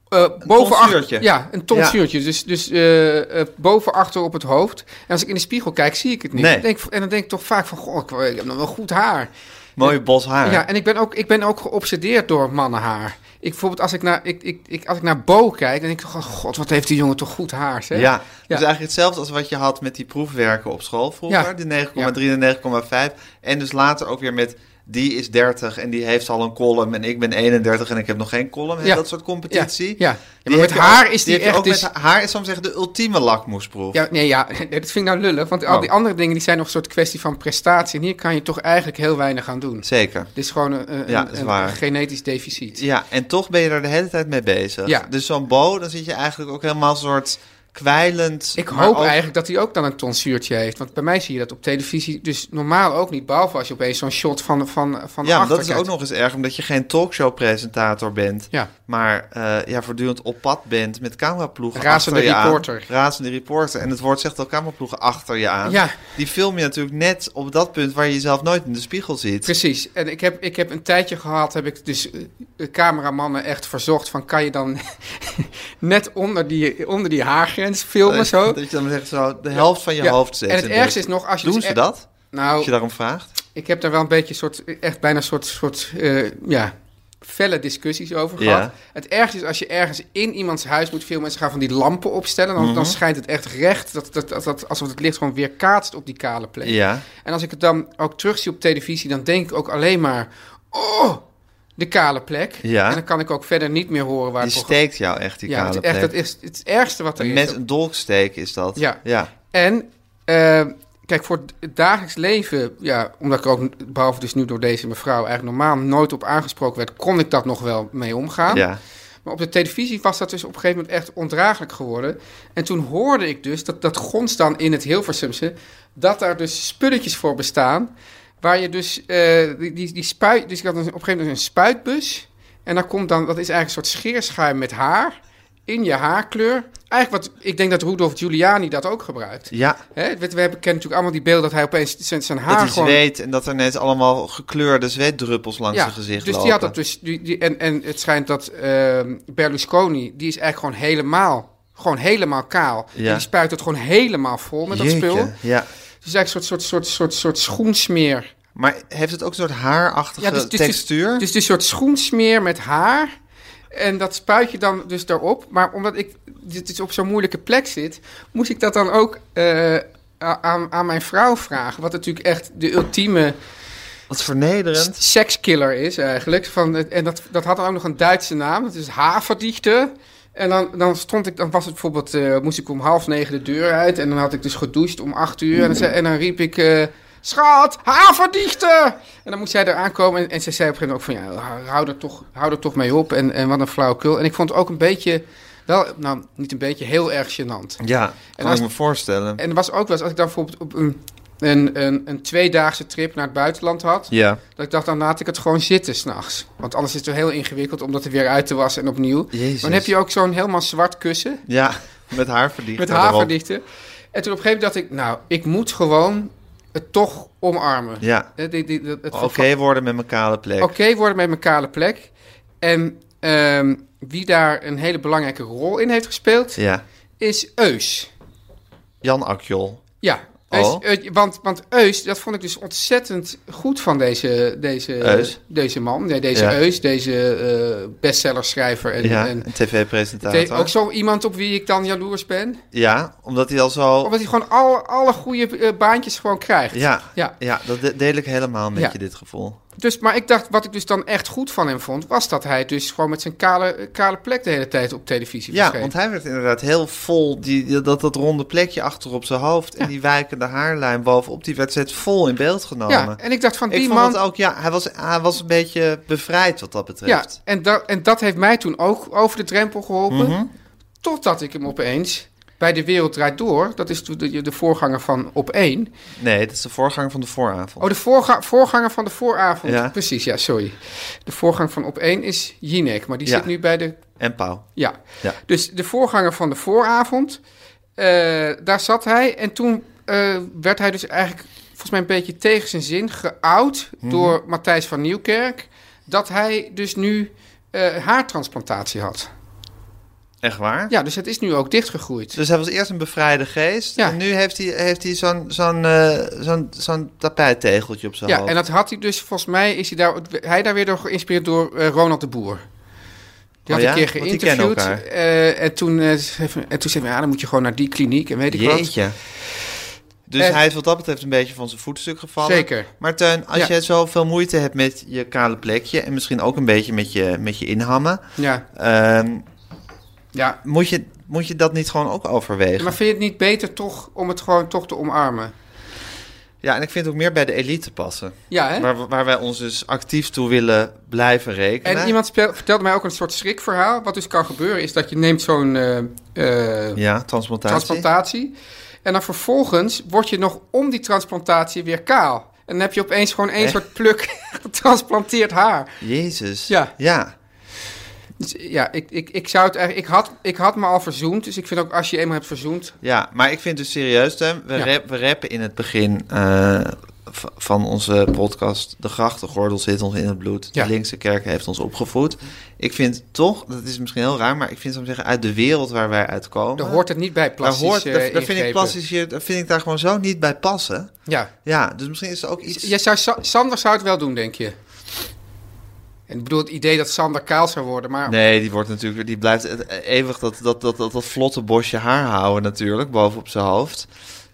B: eh, boven
A: tonsuurtje.
B: achter, ja, een tonsuurtje. Dus, dus eh, eh, boven achter op het hoofd. En als ik in de spiegel kijk, zie ik het niet.
A: Nee.
B: Ik denk, en dan denk ik toch vaak van, goh, ik, eh, ik heb nog wel goed haar.
A: Mooi bos haar.
B: Ja, en ik ben ook, ik ben ook geobsedeerd door mannenhaar. Ik, bijvoorbeeld als ik naar, ik, ik, ik, als ik naar Bo kijk, dan denk ik toch, oh, god, wat heeft die jongen toch goed haar, zeg.
A: Ja, dus eigenlijk hetzelfde als wat je had met die proefwerken op school vroeger.
B: Ja.
A: Die 9,3 en 9,5. En dus later ook weer met die is 30 en die heeft al een column en ik ben 31 en ik heb nog geen column. En
B: Ja.
A: Dat soort
B: Ja,
A: competitie.
B: ja. ja
A: Die
B: maar met
A: heb je
B: haar
A: ook-
B: is die,
A: heb je
B: echt
A: ook
B: dus...
A: met haar is soms echt de ultieme lakmoesproef.
B: Ja, nee, ja, *laughs* nee, dat vind ik nou lullig, want al
A: Oh.
B: die andere dingen die zijn nog een soort kwestie van prestatie. En hier kan je toch eigenlijk heel weinig aan doen.
A: Zeker.
B: Dit is gewoon een, een-
A: Ja,
B: een-
A: dat is
B: een
A: waar.
B: genetisch deficit.
A: Ja, en toch ben je daar de hele tijd mee bezig.
B: Ja.
A: Dus zo'n bo, dan zit je eigenlijk ook helemaal een soort kwijlend.
B: Ik
A: maar
B: hoop
A: ook-
B: eigenlijk dat hij ook dan een tonsuurtje heeft. Want bij mij zie je dat op televisie dus normaal ook niet. Behalve als je opeens zo'n shot van, van, van
A: Ja, maar
B: achter
A: dat is
B: kijkt.
A: ook nog eens erg, omdat je geen talkshow-presentator bent.
B: Ja.
A: Maar eh, ja, voortdurend op pad bent met cameraploegen
B: Razende
A: achter je
B: reporter.
A: aan. Razende reporter. En het woord zegt al cameraploegen achter je aan.
B: Ja.
A: Die film je natuurlijk net op dat punt waar je jezelf nooit in de spiegel ziet.
B: Precies. En ik heb, ik heb een tijdje gehad, heb ik dus eh, de cameramannen echt verzocht van... kan je dan *laughs* net onder die, onder die haargrens filmen zo?
A: Dat je dan zegt zo, de helft van je
B: Ja.
A: hoofd zit.
B: En het
A: in
B: ergste
A: beeld.
B: is nog, als je
A: Doen
B: dus
A: ze
B: echt-
A: dat? Als je
B: Nou,
A: daarom vraagt?
B: ik heb daar wel een beetje soort, echt bijna een soort, soort eh, ja, felle discussies over
A: Ja.
B: gehad. Het ergste is als je ergens in iemands huis moet filmen... en ze gaan van die lampen opstellen, dan,
A: Mhm.
B: dan schijnt het echt recht... Dat, dat, dat, dat- alsof het licht gewoon weer kaatst op die kale plek.
A: Ja.
B: En als ik het dan ook terugzie op televisie, dan denk ik ook alleen maar... Oh, de kale plek.
A: Ja.
B: En dan kan ik ook verder niet meer horen waar
A: Die
B: het programma-
A: steekt jou echt, die
B: Ja, het,
A: kale
B: is echt,
A: plek.
B: dat is het ergste wat er
A: Met
B: is.
A: een dolksteek is dat.
B: Ja.
A: ja.
B: En, eh, kijk, voor het dagelijks leven... Ja, omdat ik er ook, behalve dus nu door deze mevrouw... eigenlijk normaal nooit op aangesproken werd... kon ik dat nog wel mee omgaan.
A: ja.
B: Maar op de televisie was dat dus op een gegeven moment echt ondraaglijk geworden. En toen hoorde ik dus, dat, dat gonst dan in het Hilversumse, dat daar dus spulletjes voor bestaan. Waar je dus, eh, die, die, die spuit, dus ik had een- op een gegeven moment een spuitbus. En daar komt dan, dat is eigenlijk een soort scheerschuim met haar, in je haarkleur. Eigenlijk wat, ik denk dat Rudolf Giuliani dat ook gebruikt.
A: ja.
B: Hè, we, we hebben, kennen natuurlijk allemaal die beelden dat hij opeens zijn, zijn haar
A: Dat hij
B: gewoon...
A: zweet en dat er net allemaal gekleurde zweetdruppels langs zijn gezicht
B: dus die
A: lopen.
B: had dat dus. Die, die, en, en het schijnt dat ehm, Berlusconi, die is eigenlijk gewoon helemaal, gewoon helemaal kaal.
A: Ja.
B: En die spuit het gewoon helemaal vol met
A: Jeetje,
B: dat spul.
A: Ja.
B: Dus eigenlijk een soort, soort, soort, soort, soort schoensmeer.
A: Maar heeft het ook een soort haarachtige
B: dus, dus,
A: textuur?
B: Dus, dus, dus een soort schoensmeer met haar. En dat spuit je dan dus daarop. Maar omdat ik dit dus op zo'n moeilijke plek zit, moest ik dat dan ook eh, a- aan, aan mijn vrouw vragen. Wat natuurlijk echt de ultieme
A: Wat vernederend.
B: sekskiller is eigenlijk. Van, het- en dat, dat had ook nog een Duitse naam. Dat is Haverdichter. En dan, dan stond ik, dan was het bijvoorbeeld, eh, moest ik om half negen de deur uit. En dan had ik dus gedoucht om acht uur. En dan, zei- en dan riep ik, eh, schat, haverdichten! En dan moest zij er aankomen. En, en ze zei op een gegeven moment ook van, ja, hou er toch, hou er toch mee op. En, en wat een flauwekul. En ik vond het ook een beetje, wel, nou, niet een beetje, heel erg gênant.
A: Ja, kan
B: als-
A: ik me voorstellen.
B: En er was ook wel eens, als ik dan bijvoorbeeld op een, een, een, een tweedaagse trip naar het buitenland had...
A: Ja.
B: Dat ik dacht, dan laat ik het gewoon zitten s'nachts. Want anders is het heel ingewikkeld om dat er weer uit te wassen en opnieuw.
A: Jezus.
B: Dan heb je ook zo'n helemaal zwart kussen
A: Ja, *laughs* met haarverlicht.
B: met
A: daarop.
B: haverdichten. En toen op een gegeven moment dacht ik, nou, ik moet gewoon het toch omarmen.
A: Ja,
B: Het, het, het, het
A: oké
B: verval-
A: worden met mijn kale plek.
B: Oké worden met mijn kale plek. En ehm, wie daar een hele belangrijke rol in heeft gespeeld,
A: Ja,
B: is Eus.
A: Jan Akjol.
B: Ja,
A: Oh.
B: Eus, Eus- want, want Eus, dat vond ik dus ontzettend goed van deze, deze,
A: Eus?
B: deze man. Nee, deze
A: Ja.
B: Eus, deze eh bestsellerschrijver. En,
A: Ja,
B: en
A: een
B: de-
A: tv-presentator.
B: ook zo iemand op wie ik dan jaloers ben.
A: Oh. Ja, omdat hij al zo...
B: Omdat hij gewoon alle, alle goede eh, baantjes gewoon krijgt.
A: Ja,
B: Ja.
A: ja. dat de- deel ik helemaal met
B: Ja.
A: je, dit gevoel.
B: Dus, maar ik dacht, wat ik dus dan echt goed van hem vond, was dat hij dus gewoon met zijn kale, kale plek de hele tijd op televisie
A: Ja,
B: verscheen.
A: want hij werd inderdaad heel vol, die, die- dat, dat ronde plekje achter op zijn hoofd... en die wijkende haarlijn bovenop, die werd zet vol in beeld genomen.
B: ja, en ik dacht van
A: ik
B: die
A: vond
B: man.
A: het ook, ja, hij was, hij was een beetje bevrijd wat dat
B: ja,
A: betreft.
B: en, dat en dat heeft mij toen ook over de drempel geholpen.
A: Mhm.
B: Totdat ik hem opeens bij De Wereld Draait Door, dat is toen de, de voorganger van Op 1.
A: Nee, dat is de voorgang van de vooravond.
B: Oh, de voorga- voorganger van de vooravond.
A: Ja.
B: Precies, ja, sorry. De voorganger van Op 1 is Jinek, maar die
A: Ja.
B: zit nu bij de
A: En Pauw.
B: Ja.
A: Ja.
B: Dus de voorganger van de vooravond, eh, daar zat hij. En toen eh, werd hij dus eigenlijk, volgens mij een beetje tegen zijn zin, geout
A: Mhm.
B: door Matthijs van Nieuwkerk. Dat hij dus nu eh, haartransplantatie had.
A: Echt waar?
B: Ja, dus het is nu ook dichtgegroeid.
A: Dus hij was eerst een bevrijde geest.
B: Ja.
A: En nu heeft hij, heeft hij zo'n zo'n eh, zo'n zo'n tapijttegeltje op zijn
B: Ja,
A: hoofd.
B: en dat had hij dus, volgens mij is hij daar, hij daar weer door geïnspireerd door eh, Ronald de Boer. Die
A: Oh
B: had
A: ja?
B: een keer
A: Want die kennen
B: geïnterviewd.
A: elkaar.
B: eh, en, toen, eh, zei van- en toen zei hij, ja, dan moet je gewoon naar die kliniek en weet ik wat.
A: Jeetje. Dus
B: En-
A: hij is wat dat betreft een beetje van zijn voetstuk gevallen.
B: Zeker.
A: Maar Teun, als
B: Ja.
A: jij zoveel moeite hebt met je kale plekje... en misschien ook een beetje met je, met je inhammen...
B: Ja,
A: ehm,
B: ja
A: moet, je, moet je dat niet gewoon ook overwegen?
B: Maar vind je het niet beter toch om het gewoon toch te omarmen?
A: Ja, en ik vind het ook meer bij de elite passen.
B: Ja, hè?
A: Waar, waar wij ons dus actief toe willen blijven rekenen.
B: En iemand speel- vertelde mij ook een soort schrikverhaal. Wat dus kan gebeuren is dat je neemt zo'n eh, eh,
A: Ja, transplantatie.
B: transplantatie. En dan vervolgens word je nog om die transplantatie weer kaal. En dan heb je opeens gewoon één
A: Echt?
B: soort pluk *laughs* getransplanteerd haar.
A: Jezus.
B: Ja.
A: Ja.
B: Dus, ja, ik, ik, ik zou het eigenlijk... Ik had, ik had me al verzoend. Dus ik vind ook als je eenmaal hebt verzoend...
A: Ja, maar ik vind dus serieus, Tim, we,
B: Ja.
A: rap- we rappen in het begin eh, v- van onze podcast... De grachtengordel zit ons in het bloed,
B: Ja.
A: de linkse kerk heeft ons opgevoed. Ik vind toch, dat is misschien heel raar, maar ik vind, zou ik zeggen, uit de wereld waar wij uitkomen...
B: Daar hoort het niet bij
A: daar
B: plastisch
A: Oh, hoort,
B: eh,
A: daar, daar vind ik
B: ingrepen.
A: plastisch hier, daar vind ik daar gewoon zo niet bij passen.
B: Ja.
A: Ja, dus misschien is er ook iets...
B: Jij zou, Sa- Sander zou het wel doen, denk je? En ik bedoel, het idee dat Sander kaal zou worden, maar...
A: Nee, die wordt natuurlijk, die blijft het- eeuwig dat, dat, dat, dat, dat vlotte bosje haar houden natuurlijk, boven op zijn hoofd.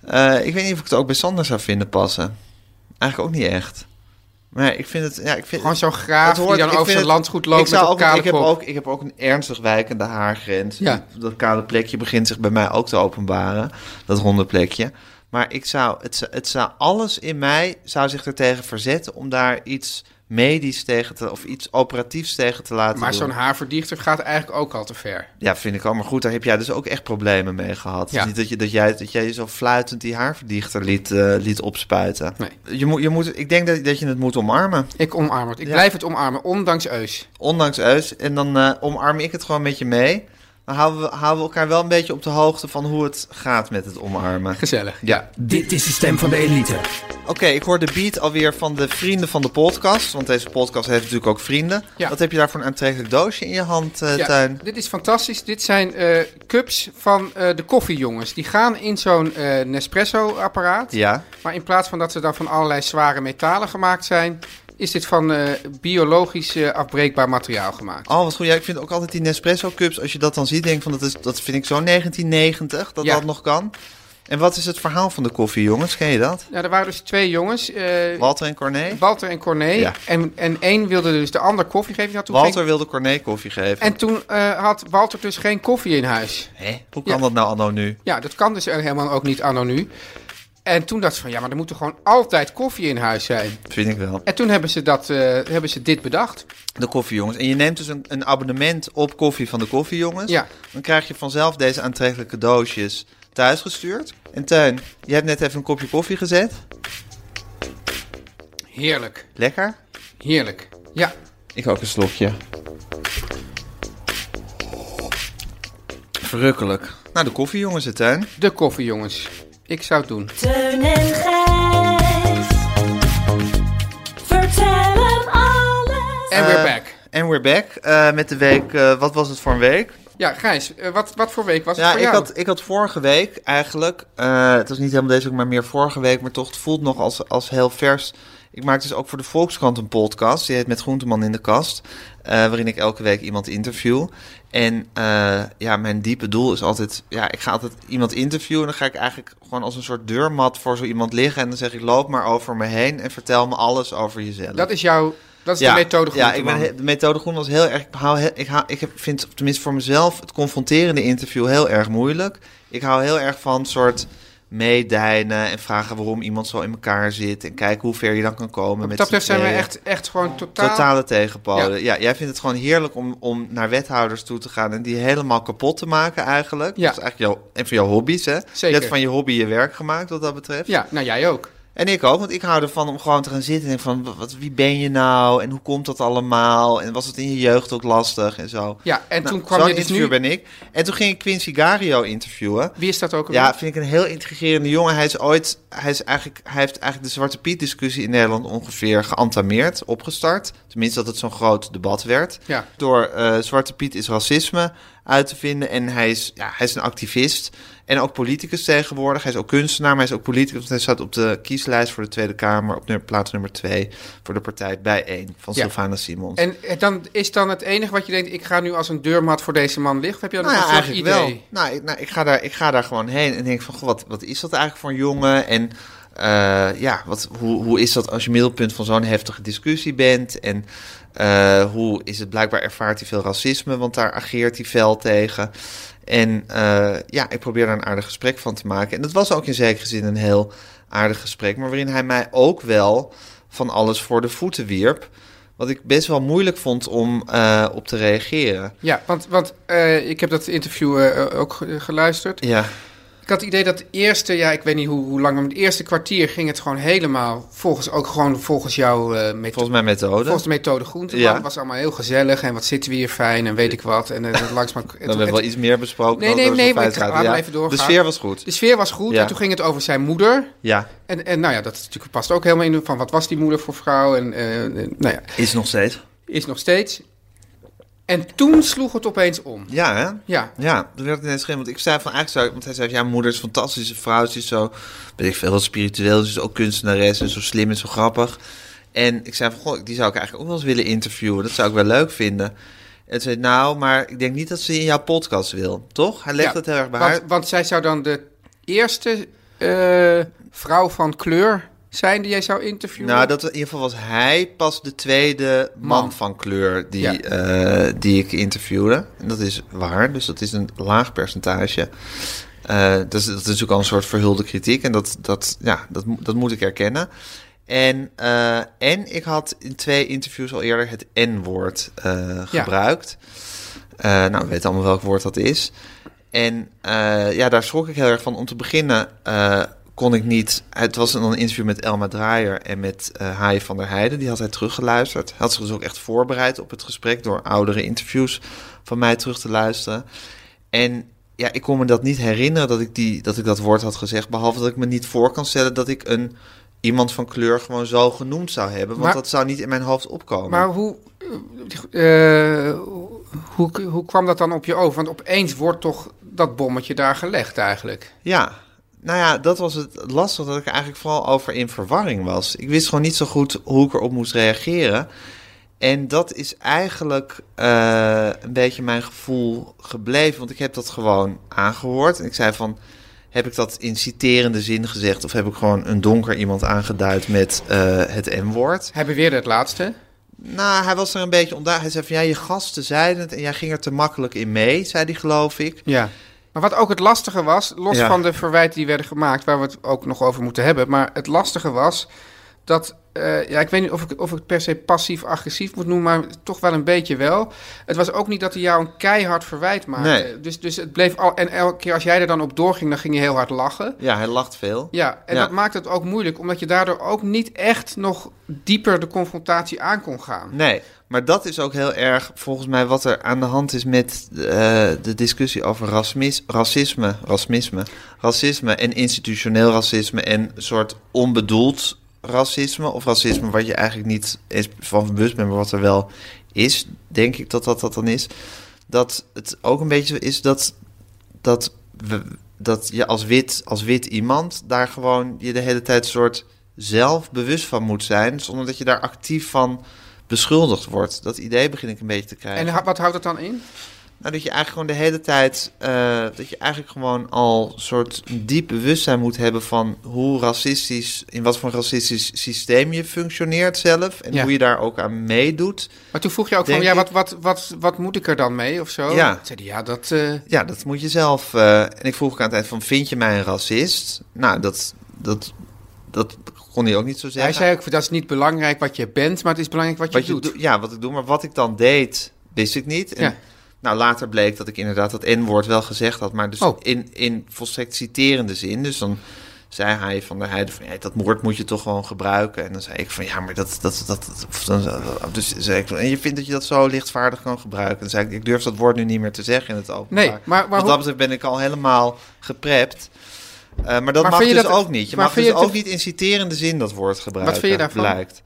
A: Eh, ik weet niet of ik het ook bij Sander zou vinden passen. Eigenlijk ook niet echt. Maar ja, ik vind het, ja, ik vind
B: Gewoon zo'n
A: het
B: graaf
A: hoort-
B: die
A: ik
B: dan over
A: vind
B: zijn
A: het-
B: landgoed loopt
A: ik zou
B: met
A: ook,
B: een kale
A: ik heb
B: kop.
A: ook, ik heb ook een ernstig wijkende haargrens.
B: Ja.
A: Dat kale plekje begint zich bij mij ook te openbaren, dat ronde plekje. Maar ik zou, het, zou- het zou alles in mij zou zich ertegen verzetten om daar iets medisch tegen te, of iets operatiefs tegen te laten
B: maar
A: doen.
B: zo'n haarverdichter gaat eigenlijk ook al te ver.
A: Ja, vind ik allemaal goed. Daar heb jij dus ook echt problemen mee gehad.
B: Ja.
A: Dus niet dat, je, dat, jij, dat jij je zo fluitend die haarverdichter liet, eh, liet opspuiten.
B: Nee.
A: Je moet, je moet, ik denk dat, dat je het moet omarmen.
B: Ik omarm het. Ik
A: Ja.
B: blijf het omarmen, ondanks Eus.
A: Ondanks Eus. En dan eh, omarm ik het gewoon met je mee. Dan houden we, houden we elkaar wel een beetje op de hoogte van hoe het gaat met het omarmen.
B: Gezellig.
A: Ja.
C: Dit is de stem van de elite.
A: Oké, ik hoor de beat alweer van de vrienden van de podcast. Want deze podcast heeft natuurlijk ook vrienden.
B: Ja.
A: Wat heb je daar voor een aantrekkelijk doosje in je hand, eh,
B: Ja,
A: Tuin?
B: dit is fantastisch. Dit zijn eh, cups van eh, de koffiejongens. Die gaan in zo'n eh, Nespresso-apparaat.
A: Ja.
B: Maar in plaats van dat ze dan van allerlei zware metalen gemaakt zijn... is dit van eh, biologisch eh, afbreekbaar materiaal gemaakt.
A: Oh, wat goed. Ja, ik vind ook altijd die Nespresso-cups, als je dat dan ziet, denk ik van dat, is, dat vind ik zo 1990, dat
B: Ja.
A: dat nog kan. En wat is het verhaal van de koffie, jongens? Ken je dat?
B: Nou, er waren dus twee jongens, eh,
A: Walter en Corné?
B: Walter en Corné.
A: Ja.
B: En, en één wilde dus de ander koffie geven. Ja, toen
A: Walter
B: ging-
A: wilde Corné koffie geven.
B: En toen eh, had Walter dus geen koffie in huis.
A: Hè? Hoe kan dat nou anno nu?
B: Ja, dat kan dus helemaal ook niet anno nu. En toen dacht ze van, ja, maar er moet er gewoon altijd koffie in huis zijn.
A: Vind ik wel.
B: En toen hebben ze, dat, eh, hebben ze dit bedacht.
A: De koffiejongens. En je neemt dus een, een abonnement op koffie van de koffiejongens.
B: Ja.
A: Dan krijg je vanzelf deze aantrekkelijke doosjes thuisgestuurd. En Teun, je hebt net even een kopje koffie gezet.
B: Heerlijk,
A: Lekker.
B: heerlijk. Ja,
A: Ik ook een slokje. Verrukkelijk. Nou, de koffiejongens, het Teun.
B: de koffie, jongens. Ik zou het doen.
D: Teun en Gijs. Vertel hem alles.
B: En we're
A: Eh,
B: back.
A: En we're back eh, met de week. eh, wat was het voor een week?
B: Ja, Gijs, eh, wat, wat voor week was het
A: Ja,
B: voor
A: ik
B: jou?
A: had, ik had vorige week eigenlijk, eh, het was niet helemaal deze week, maar meer vorige week, maar toch, het voelt nog als, als heel vers. Ik maak dus ook voor de Volkskrant een podcast, die heet Met Groenteman in de Kast, eh, waarin ik elke week iemand interview. En eh, ja, mijn diepe doel is altijd, ja, ik ga altijd iemand interviewen en dan ga ik eigenlijk gewoon als een soort deurmat voor zo iemand liggen. En dan zeg ik, loop maar over me heen en vertel me alles over jezelf.
B: Dat is jouw, dat is de methode
A: Ja, ik ben,
B: Groenteman.
A: he- de methode groen was heel erg. Ik, hou, he- ik, hou, ik heb, vind tenminste voor mezelf het confronterende interview heel erg moeilijk. Ik hou heel erg van soort meedijnen en vragen waarom iemand zo in elkaar zit. En kijken hoe ver je dan kan komen.
B: Wat
A: met
B: dat
A: z'n
B: betreft zijn we
A: tweeën.
B: echt, echt gewoon totaal...
A: Totale tegenpolen. Ja. jij vindt het gewoon heerlijk om, om naar wethouders toe te gaan en die helemaal kapot te maken eigenlijk.
B: Ja.
A: Dat is eigenlijk jouw, en van jouw hobby's, hè? Je
B: Zeker.
A: hebt van je hobby je werk gemaakt wat dat betreft.
B: Ja, nou jij ook.
A: En ik ook, want ik hou ervan om gewoon te gaan zitten en denk van, wa- wat, wie ben je nou en hoe komt dat allemaal en was het in je jeugd ook lastig en zo.
B: Ja, en
A: Nou,
B: toen kwam
A: zo'n
B: je dus
A: interview
B: nu...
A: ben ik. En toen ging ik Quincy Gario interviewen.
B: Wie is dat ook alweer?
A: Ja, vind ik een heel intrigerende jongen. Hij is ooit, hij is eigenlijk, hij heeft eigenlijk de Zwarte Piet discussie in Nederland ongeveer geantameerd, opgestart. Tenminste dat het zo'n groot debat werd.
B: Ja.
A: Door eh, Zwarte Piet is racisme uit te vinden en hij is, ja, hij is een activist en ook politicus tegenwoordig. Hij is ook kunstenaar, maar hij is ook politicus. want Hij staat op de kieslijst voor de Tweede Kamer op nummer- plaats nummer twee voor de partij Bijeen van
B: Ja.
A: Sylvana Simons.
B: En eh, dan is dan het enige wat je denkt, ik ga nu als een deurmat voor deze man liggen. Heb je dan
A: Nou
B: nog
A: ja,
B: een soort
A: eigenlijk
B: idee?
A: wel. Nou, ik, nou, ik, ga daar, ik ga daar gewoon heen en denk van, goh, wat, wat is dat eigenlijk voor een jongen? En eh, ja, wat, hoe, hoe is dat als je middelpunt van zo'n heftige discussie bent? En eh, hoe is het, blijkbaar ervaart hij veel racisme, want daar ageert hij fel tegen. En eh, ja, ik probeer daar een aardig gesprek van te maken. En dat was ook in zekere zin een heel aardig gesprek, maar waarin hij mij ook wel van alles voor de voeten wierp. Wat ik best wel moeilijk vond om eh, op te reageren.
B: Ja, want, want eh, ik heb dat interview eh, ook ge- geluisterd.
A: Ja.
B: Ik had het idee dat het eerste, ja, ik weet niet hoe, hoe lang, maar het eerste kwartier ging het gewoon helemaal volgens, ook gewoon volgens jouw eh methode.
A: Volgens mijn methode.
B: Volgens de methode Groenteman
A: Ja.
B: Het was allemaal heel gezellig en wat zitten we hier fijn en weet ik wat. En, eh, langs maar,
A: *laughs* Dan hebben we wel iets meer besproken.
B: Nee,
A: dan
B: nee,
A: door zo'n
B: nee, maar ik
A: feitstraat.
B: ga- laat
A: Ja,
B: maar even doorgaan. Dus-
A: De sfeer was goed.
B: De sfeer was goed
A: Ja.
B: en toen ging het over zijn moeder.
A: Ja,
B: En, en nou ja, dat is natuurlijk, past ook helemaal in de- van wat was die moeder voor vrouw. En eh, eh, nou ja,
A: is nog steeds.
B: is nog steeds. En toen sloeg het opeens om.
A: Ja, hè?
B: Ja,
A: Ja, toen werd het ineens geen. Want ik zei van eigenlijk zou. Want hij zei: Ja, mijn moeder is een fantastische vrouw. Ze is zo. Weet ik veel wat spiritueel. Ze is ook kunstenares. En zo slim en zo grappig. En ik zei van: Goh, die zou ik eigenlijk ook wel eens willen interviewen. Dat zou ik wel leuk vinden. En zei: Nou, maar ik denk niet dat ze in jouw podcast wil. Toch? Hij legt
B: Ja,
A: dat heel erg bij haar.
B: want, want zij zou dan de eerste eh, vrouw van kleur zijn die jij zou interviewen.
A: Nou, dat, in ieder geval was hij pas de tweede man,
B: Man.
A: van kleur die,
B: Ja.
A: eh, die ik interviewde. En dat is waar, dus dat is een laag percentage. Eh, dat, is, dat is natuurlijk al een soort verhulde kritiek en dat, dat, ja, dat, mo- dat moet ik erkennen. En, eh, en ik had in twee interviews al eerder het N-woord eh,
B: Ja.
A: gebruikt. Eh, nou, we weten allemaal welk woord dat is. En eh, ja, daar schrok ik heel erg van. Om te beginnen eh, kon ik niet... Het was een interview met Elma Draaier en met eh Haaien van der Heijden. Die had hij teruggeluisterd. Hij had zich dus ook echt voorbereid op het gesprek... door oudere interviews van mij terug te luisteren. En ja, ik kon me dat niet herinneren dat ik, die, dat ik dat woord had gezegd. Behalve dat ik me niet voor kan stellen dat ik een... Iemand van kleur gewoon zo genoemd zou hebben. Want
B: Maar-
A: dat zou niet in mijn hoofd opkomen.
B: Maar hoe, eh, eh, hoe, hoe kwam dat dan op je over? Want opeens wordt toch dat bommetje daar gelegd eigenlijk.
A: Ja, nou ja, dat was het lastig dat ik er eigenlijk vooral over in verwarring was. Ik wist gewoon niet zo goed hoe ik erop moest reageren. En dat is eigenlijk eh, een beetje mijn gevoel gebleven, want ik heb dat gewoon aangehoord. En ik zei van, Heb ik dat in citerende zin gezegd? Of heb ik gewoon een donker iemand aangeduid met eh, het M-woord?
B: Hebben we weer het laatste?
A: Nou, hij was er een beetje onduidelijk. Hij zei van, ja, je gasten zeiden het en jij ging er te makkelijk in mee, zei hij geloof ik.
B: Ja. Maar wat ook het lastige was, los
A: Ja.
B: van de verwijten die werden gemaakt, waar we het ook nog over moeten hebben, maar het lastige was dat, eh, ja, ik weet niet of ik, of ik het per se passief-agressief moet noemen, maar toch wel een beetje wel. Het was ook niet dat hij jou een keihard verwijt maakte.
A: Nee.
B: Dus, dus het bleef al, en elke keer als jij er dan op doorging, dan ging je heel hard lachen.
A: Ja, hij lacht veel.
B: Ja, en
A: Ja.
B: dat maakt het ook moeilijk, omdat je daardoor ook niet echt nog dieper de confrontatie aan kon gaan.
A: Nee, maar dat is ook heel erg volgens mij wat er aan de hand is met eh, de discussie over rasmis, racisme, rasmisme, racisme en institutioneel racisme en een soort onbedoeld racisme of racisme wat je eigenlijk niet eens van bewust bent, maar wat er wel is, denk ik dat dat, dat dan is. Dat het ook een beetje zo is dat, dat, we, dat je als wit, als wit iemand daar gewoon je de hele tijd soort zelf bewust van moet zijn, zonder dat je daar actief van beschuldigd wordt. Dat idee begin ik een beetje te krijgen.
B: En ha- wat houdt dat dan in?
A: Nou, dat je eigenlijk gewoon de hele tijd, eh, dat je eigenlijk gewoon al een soort diep bewustzijn moet hebben van hoe racistisch, in wat voor een racistisch systeem je functioneert zelf en
B: Ja.
A: hoe je daar ook aan meedoet.
B: Maar toen vroeg je ook
A: Denk
B: van, ja,
A: ik-
B: wat, wat, wat, wat moet ik er dan mee of zo?
A: Ja.
B: Toen zei hij, ja, dat... eh,
A: Ja, dat moet je zelf. eh, en ik vroeg ook aan het eind van, vind je mij een racist? Nou, dat, dat, dat kon hij ook niet zo
B: Hij
A: zeggen.
B: zei ook, dat is niet belangrijk wat je bent, maar het is belangrijk wat je
A: wat je
B: doet.
A: doet. Ja, wat ik doe. Maar wat ik dan deed, wist ik niet. En,
B: Ja.
A: Nou, later bleek dat ik inderdaad dat N-woord wel gezegd had. Maar dus
B: Oh.
A: in, in volstrekt citerende zin. Dus dan zei hij van der Heijden van... Ja, dat woord moet je toch gewoon gebruiken. En dan zei ik van... Ja, maar dat... dat, dat, dat- of dan, dus zei ik, van, en je vindt dat je dat zo lichtvaardig kan gebruiken. En dan zei ik... Ik durf dat woord nu niet meer te zeggen in het openbaar.
B: Nee, maar- maar
A: Wat
B: hoe-
A: dat betreft ben ik al helemaal geprept. Eh, maar dat
B: Maar
A: mag
B: vind
A: dus
B: je dat-
A: ook niet. Je
B: maar
A: mag
B: vind
A: dus
B: je
A: ook
B: het-
A: niet in citerende zin dat woord gebruiken.
B: vind je daarvan?
A: Blijkt.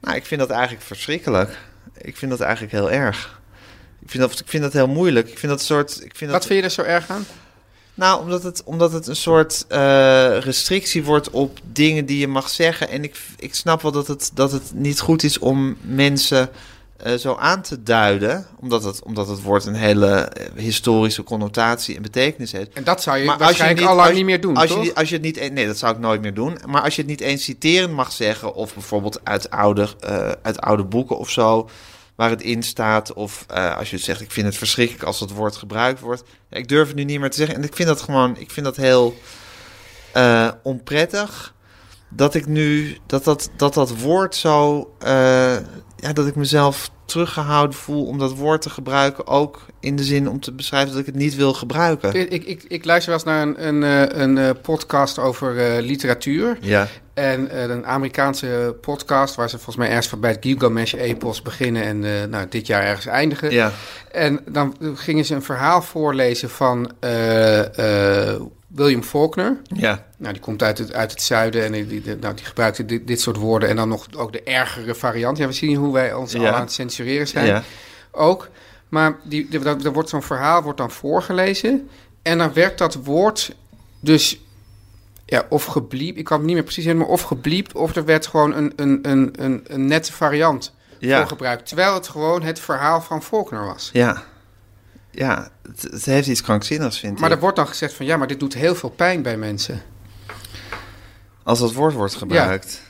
A: Nou, ik vind dat eigenlijk verschrikkelijk. Ik vind dat eigenlijk heel erg. Ik vind dat, ik vind dat heel moeilijk. Ik vind dat soort. Ik vind dat,
B: Wat vind je er zo erg aan?
A: Nou, omdat het, omdat het een soort eh, restrictie wordt op dingen die je mag zeggen. En ik, ik snap wel dat het, dat het niet goed is om mensen eh, zo aan te duiden. Omdat het, omdat het woord een hele eh, historische connotatie en betekenis heeft.
B: En dat zou je
A: Maar als je
B: waarschijnlijk
A: niet,
B: al lang
A: als-
B: niet meer doen,
A: als
B: toch?
A: Je, als je het niet, een- nee, dat zou ik nooit meer doen. Maar als je het niet eens citerend mag zeggen, of bijvoorbeeld uit oude, eh, uit oude boeken of zo, waar het in staat, of eh, als je zegt, ik vind het verschrikkelijk als dat woord gebruikt wordt. Ja, ik durf het nu niet meer te zeggen. En ik vind dat gewoon, ik vind dat heel eh, onprettig. Dat ik nu, dat dat, dat, dat woord zo, eh, ja, dat ik mezelf teruggehouden voel om dat woord te gebruiken. Ook in de zin om te beschrijven dat ik het niet wil gebruiken.
B: Ik, ik, ik, ik luister wel eens naar een, een, eh, een eh, podcast over eh, literatuur.
A: Ja.
B: En eh, een Amerikaanse podcast waar ze volgens mij ergens bij het Gilgamesh-epos beginnen en eh, nou, dit jaar ergens eindigen.
A: Ja.
B: En dan gingen ze een verhaal voorlezen van eh, eh, William Faulkner.
A: Ja.
B: Nou, die komt uit het, uit het zuiden en die, die, die- nou, die gebruikt dit, dit soort woorden. En dan nog ook de ergere variant. Ja, we zien hoe wij ons
A: Ja.
B: al aan het censureren zijn.
A: Ja.
B: Ook. Maar die, die- dat, er wordt zo'n verhaal wordt dan voorgelezen. En dan werd dat woord dus ja, of gebliept. Ik kan het niet meer precies helemaal of gebliept. Of er werd gewoon een, een, een, een, een nette variant
A: Ja.
B: voor gebruikt. Terwijl het gewoon het verhaal van Faulkner was.
A: Ja. Ja, het, het heeft iets krankzinnigs, vind
B: Maar
A: ik.
B: er wordt dan gezegd van ja, maar dit doet heel veel pijn bij mensen.
A: Als dat woord wordt gebruikt.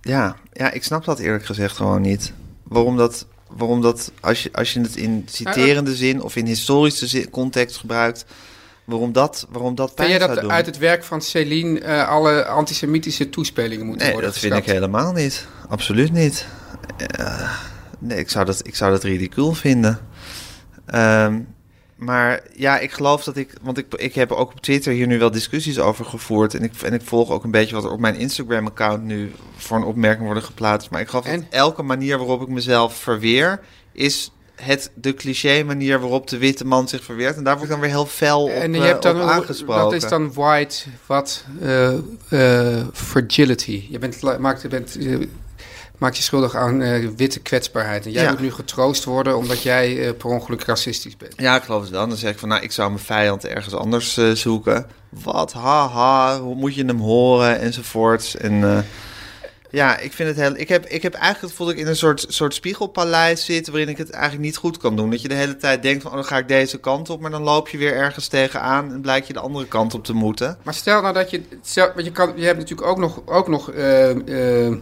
A: Ja. Ja. ik snap dat eerlijk gezegd gewoon niet. Waarom dat, waarom dat als, je, als je het in
B: eh,
A: citerende zin of in historische zin, context gebruikt, waarom dat, waarom dat
B: Vind
A: pijn
B: jij dat
A: zou doen?
B: uit het werk van Céline eh, alle antisemitische toespelingen moeten
A: Nee,
B: worden
A: dat vind ik
B: geschrapt?
A: helemaal niet. Absoluut niet. Eh, nee, ik zou dat, ik zou dat ridicuul vinden. Ehm, maar ja, ik geloof dat ik... Want ik, ik heb ook op Twitter hier nu wel discussies over gevoerd. En ik, en ik volg ook een beetje wat er op mijn Instagram-account nu... voor een opmerking worden geplaatst. Maar ik geloof dat
B: En?
A: elke manier waarop ik mezelf verweer... is het, de cliché-manier waarop de witte man zich verweert. En daar word ik dan weer heel fel op,
B: En je
A: eh,
B: hebt dan,
A: op aangesproken.
B: dat is dan white, wat, eh, eh, fragility. Je bent, la- maakt, je bent, eh, maakt je schuldig aan eh, witte kwetsbaarheid. En jij
A: Ja.
B: moet nu getroost worden omdat jij eh, per ongeluk racistisch bent.
A: Ja, ik geloof het wel. Dan zeg ik van, nou, ik zou mijn vijand ergens anders eh, zoeken. Wat, haha, hoe moet je hem horen, enzovoorts. En eh, Ja, ik vind het heel. Ik heb, ik heb eigenlijk het gevoel dat ik in een soort, soort spiegelpaleis zit. waarin ik het eigenlijk niet goed kan doen. Dat je de hele tijd denkt: van, oh, dan ga ik deze kant op. maar dan loop je weer ergens tegenaan. en blijkt je de andere kant op te moeten.
B: Maar stel nou dat je. Stel, want je, kan, je hebt natuurlijk ook nog. Ook nog eh, eh,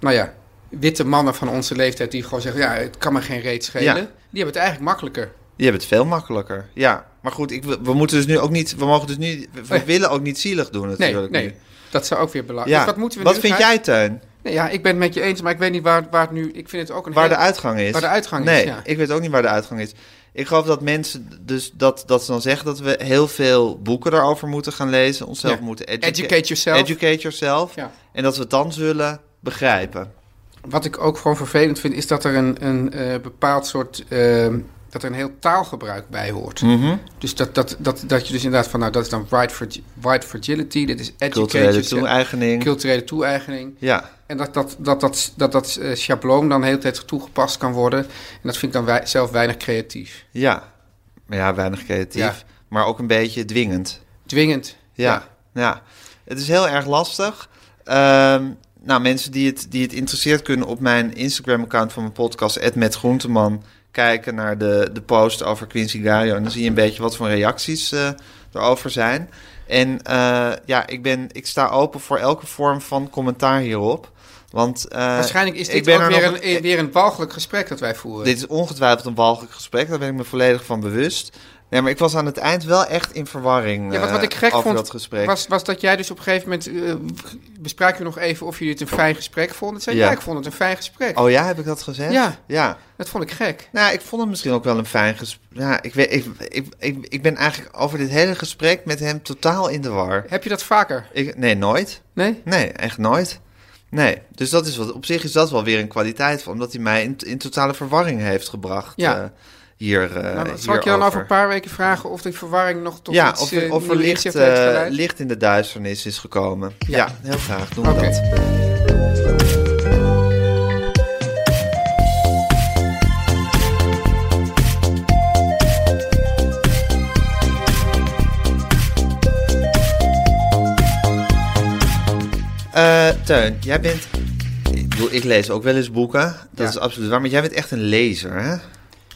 B: nou ja, witte mannen van onze leeftijd die gewoon zeggen: ja, het kan me geen reet schelen.
A: Ja.
B: Die hebben het eigenlijk makkelijker.
A: Je hebt het veel makkelijker. Ja, maar goed, ik, wil- we moeten dus nu ook niet. We mogen dus nu. We
B: Nee.
A: willen ook niet zielig doen,
B: Nee,
A: natuurlijk.
B: nee.
A: nu.
B: Dat zou ook weer belangrijk
A: Ja.
B: Dus wat moeten we
A: wat
B: nu
A: vind
B: gaan-
A: jij, Teun?
B: Nee, ja, ik ben het met je eens, maar ik weet niet waar, waar het nu. Ik vind het ook een.
A: Waar de
B: heel-
A: uitgang is.
B: Waar de uitgang
A: nee,
B: is. Ja.
A: ik weet ook niet waar de uitgang is. Ik geloof dat mensen dus dat, dat ze dan zeggen dat we heel veel boeken daarover moeten gaan lezen, onszelf
B: Ja.
A: moeten educa-
B: Educate yourself.
A: educate yourself.
B: Ja.
A: En dat we het dan zullen begrijpen.
B: Wat ik ook gewoon vervelend vind, is dat er een, een eh, bepaald soort. eh, dat er een heel taalgebruik bij hoort.
A: Mhm.
B: Dus dat, dat, dat, dat je dus inderdaad van, nou, dat is dan white, fragi- white fragility, dit is
A: Culturele
B: education,
A: toe-eigening.
B: culturele toe-eigening.
A: ja.
B: En dat dat, dat, dat, dat, dat eh, schabloon dan de hele tijd toegepast kan worden. En dat vind ik dan wij, zelf weinig creatief.
A: ja. Maar ja, weinig creatief.
B: Ja.
A: Maar ook een beetje dwingend.
B: Dwingend.
A: Ja, ja. Het is heel erg lastig. Ehm, nou, mensen die het, die het interesseert kunnen op mijn Instagram-account van mijn podcast, Met Groenteman, kijken naar de, de post over Quincy Gario. En dan zie je een beetje wat voor reacties eh, erover zijn. En eh, ja, ik, ben, ik sta open voor elke vorm van commentaar hierop. Want, eh,
B: Waarschijnlijk is
A: ik
B: dit
A: ben
B: ook
A: er
B: weer
A: nog-
B: een, weer een walgelijk gesprek dat wij voeren.
A: dit is ongetwijfeld een walgelijk gesprek, daar ben ik me volledig van bewust. Nee, maar ik was aan het eind wel echt in verwarring
B: Ja, wat, wat
A: eh,
B: ik gek
A: over
B: vond,
A: dat gesprek.
B: Was, was dat jij dus op een gegeven moment... eh, bespraken we nog even of jullie het een fijn gesprek vonden. Zei, ja.
A: Ja.
B: ik vond het een fijn gesprek.
A: Oh ja, heb ik dat gezegd?
B: Ja.
A: Ja.
B: Dat vond ik gek.
A: Nou, ik vond het misschien ook wel een fijn gesprek. Ja, ik, weet, ik, ik, ik, ik ben eigenlijk over dit hele gesprek met hem totaal in de war.
B: Heb je dat vaker?
A: Ik, nee, nooit.
B: Nee?
A: Nee, echt nooit. Nee, dus dat is wat, op zich is dat wel weer een kwaliteit van, omdat hij mij in, in totale verwarring heeft gebracht
B: Ja.
A: eh, hier. eh
B: Nou, zal ik je dan
A: hierover.
B: over een paar weken vragen of die verwarring nog tot
A: Ja,
B: iets
A: of, er-
B: eh,
A: of er
B: nieuws
A: licht,
B: heeft geleid?
A: eh, licht in de duisternis is gekomen.
B: Ja.
A: Ja, heel graag doen we
B: Oké.
A: dat. Eh, Teun, jij bent. Ik, bedoel, ik lees ook wel eens boeken. Dat
B: Ja. Oh.
A: is absoluut waar. Maar jij bent echt een lezer, hè?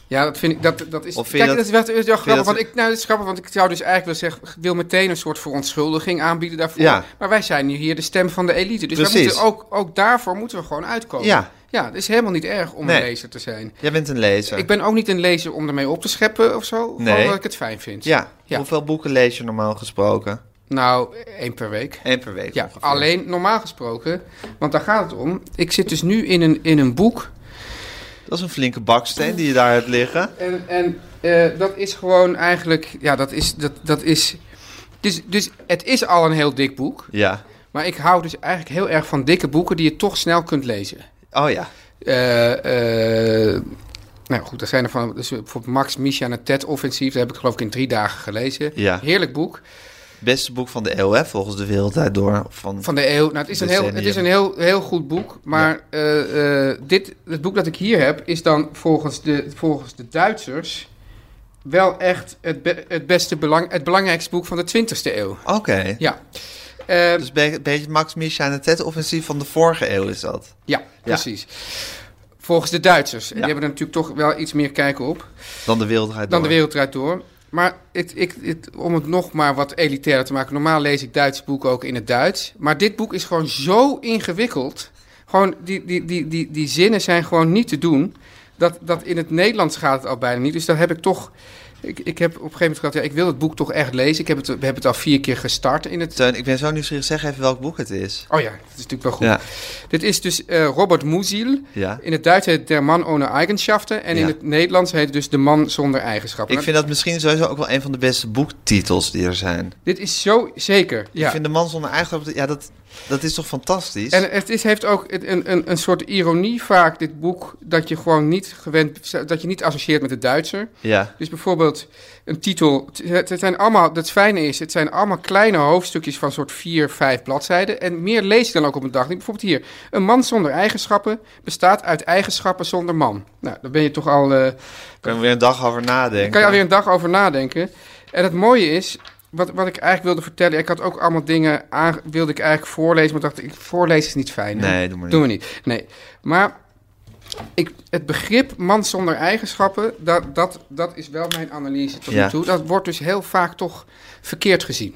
B: Ja, dat vind ik. Dat, dat is.
A: Of vind je
B: Kijk, dat,
A: dat-
B: is wel, is wel grappig.
A: dat-
B: Want ik, nou, dat is grappig, want ik zou dus eigenlijk wil zeggen, wil meteen een soort verontschuldiging aanbieden daarvoor.
A: Ja.
B: Maar wij zijn nu hier de stem van de elite. Dus we
A: Precies.
B: moeten ook, ook daarvoor moeten we gewoon uitkomen.
A: Ja.
B: Ja, het is helemaal niet erg om een
A: Nee.
B: lezer te zijn.
A: Jij bent een lezer.
B: Ik ben ook niet een lezer om ermee op te scheppen of zo.
A: Nee.
B: Gewoon dat ik het fijn vind.
A: Ja.
B: Ja.
A: Hoeveel boeken lees je normaal gesproken?
B: Nou, één per week.
A: Eén per week.
B: Ja,
A: ongeveer.
B: alleen normaal gesproken, want daar gaat het om. Ik zit dus nu in een, in een boek.
A: Dat is een flinke baksteen die je daar hebt liggen.
B: En, en eh, dat is gewoon eigenlijk, ja, dat is, dat, dat is, dus, dus het is al een heel dik boek.
A: Ja.
B: Maar ik hou dus eigenlijk heel erg van dikke boeken die je toch snel kunt lezen.
A: Oh ja.
B: Eh, eh, nou goed, er zijn er van, dus bijvoorbeeld Max Misha en het TED-offensief, dat heb ik geloof ik in drie dagen gelezen.
A: Ja.
B: Heerlijk boek.
A: Beste boek van de eeuw, hè, volgens de wereldtijd door. Of Van,
B: Van de eeuw. Nou, het is een, heel, het is
A: Decennium.
B: een heel, heel goed boek. Maar eh, eh, dit, het boek dat ik hier heb, is dan volgens de, volgens de Duitsers wel echt het, be- het beste belang, het belangrijkste boek van de 20e eeuw.
A: Oké.
B: Ja. Eh,
A: Dus be- een beetje Max Misha en het TED-offensief van de vorige eeuw is dat.
B: ja, precies. Volgens de Duitsers. En die
A: Ja.
B: hebben er natuurlijk toch wel iets meer kijk op
A: Dan de wereldtijd
B: dan
A: door.
B: de wereld draait door. Maar ik, ik, het- om het nog maar wat elitairder te maken. Normaal lees ik Duitse boeken ook in het Duits. Maar dit boek is gewoon zo ingewikkeld. Gewoon, die, die, die, die, die zinnen zijn gewoon niet te doen. Dat, dat in het Nederlands gaat het al bijna niet. Dus daar heb ik toch... Ik, ik heb op een gegeven moment gedacht, ja, ik wil het boek toch echt lezen. Ik heb het, we hebben het al vier keer gestart in het...
A: Teun, ik ben zo nieuwsgierig. Zeg even welk boek het is.
B: Oh ja, dat is natuurlijk wel goed.
A: Ja.
B: Dit is dus eh, Robert Musil.
A: ja.
B: In het Duits heet het Der Mann ohne Eigenschaften. En in
A: Ja.
B: het Nederlands heet het dus De Man Zonder Eigenschappen. Nou,
A: Ik vind dat misschien sowieso ook wel een van de beste boektitels die er zijn.
B: Dit is zo zeker. Ja.
A: Ik vind De Man zonder eigenschap, ja, dat, dat is toch fantastisch?
B: En het is, heeft ook een, een, een soort ironie vaak, dit boek, dat je gewoon niet gewend, dat je niet associeert met de Duitser.
A: Ja.
B: Dus bijvoorbeeld een titel, het- het, het zijn allemaal, het fijne is, het zijn allemaal kleine hoofdstukjes van soort vier, vijf bladzijden. En meer lees je dan ook op een dag niet. Bijvoorbeeld hier, een man zonder eigenschappen bestaat uit eigenschappen zonder man. Nou, dan ben je toch al... eh,
A: Daar kan je weer een dag over
B: daar kan je
A: nadenken.
B: alweer een dag over nadenken. En het mooie is, wat, wat ik eigenlijk wilde vertellen, ik had ook allemaal dingen aan, wilde ik eigenlijk voorlezen, maar dacht ik, voorlezen is niet fijn. hè?
A: Nee, doe maar niet.
B: Doen we niet. Nee. Maar ik, het begrip man zonder eigenschappen, dat, dat, dat is wel mijn analyse tot
A: Ja.
B: nu toe. Dat wordt dus heel vaak toch verkeerd gezien.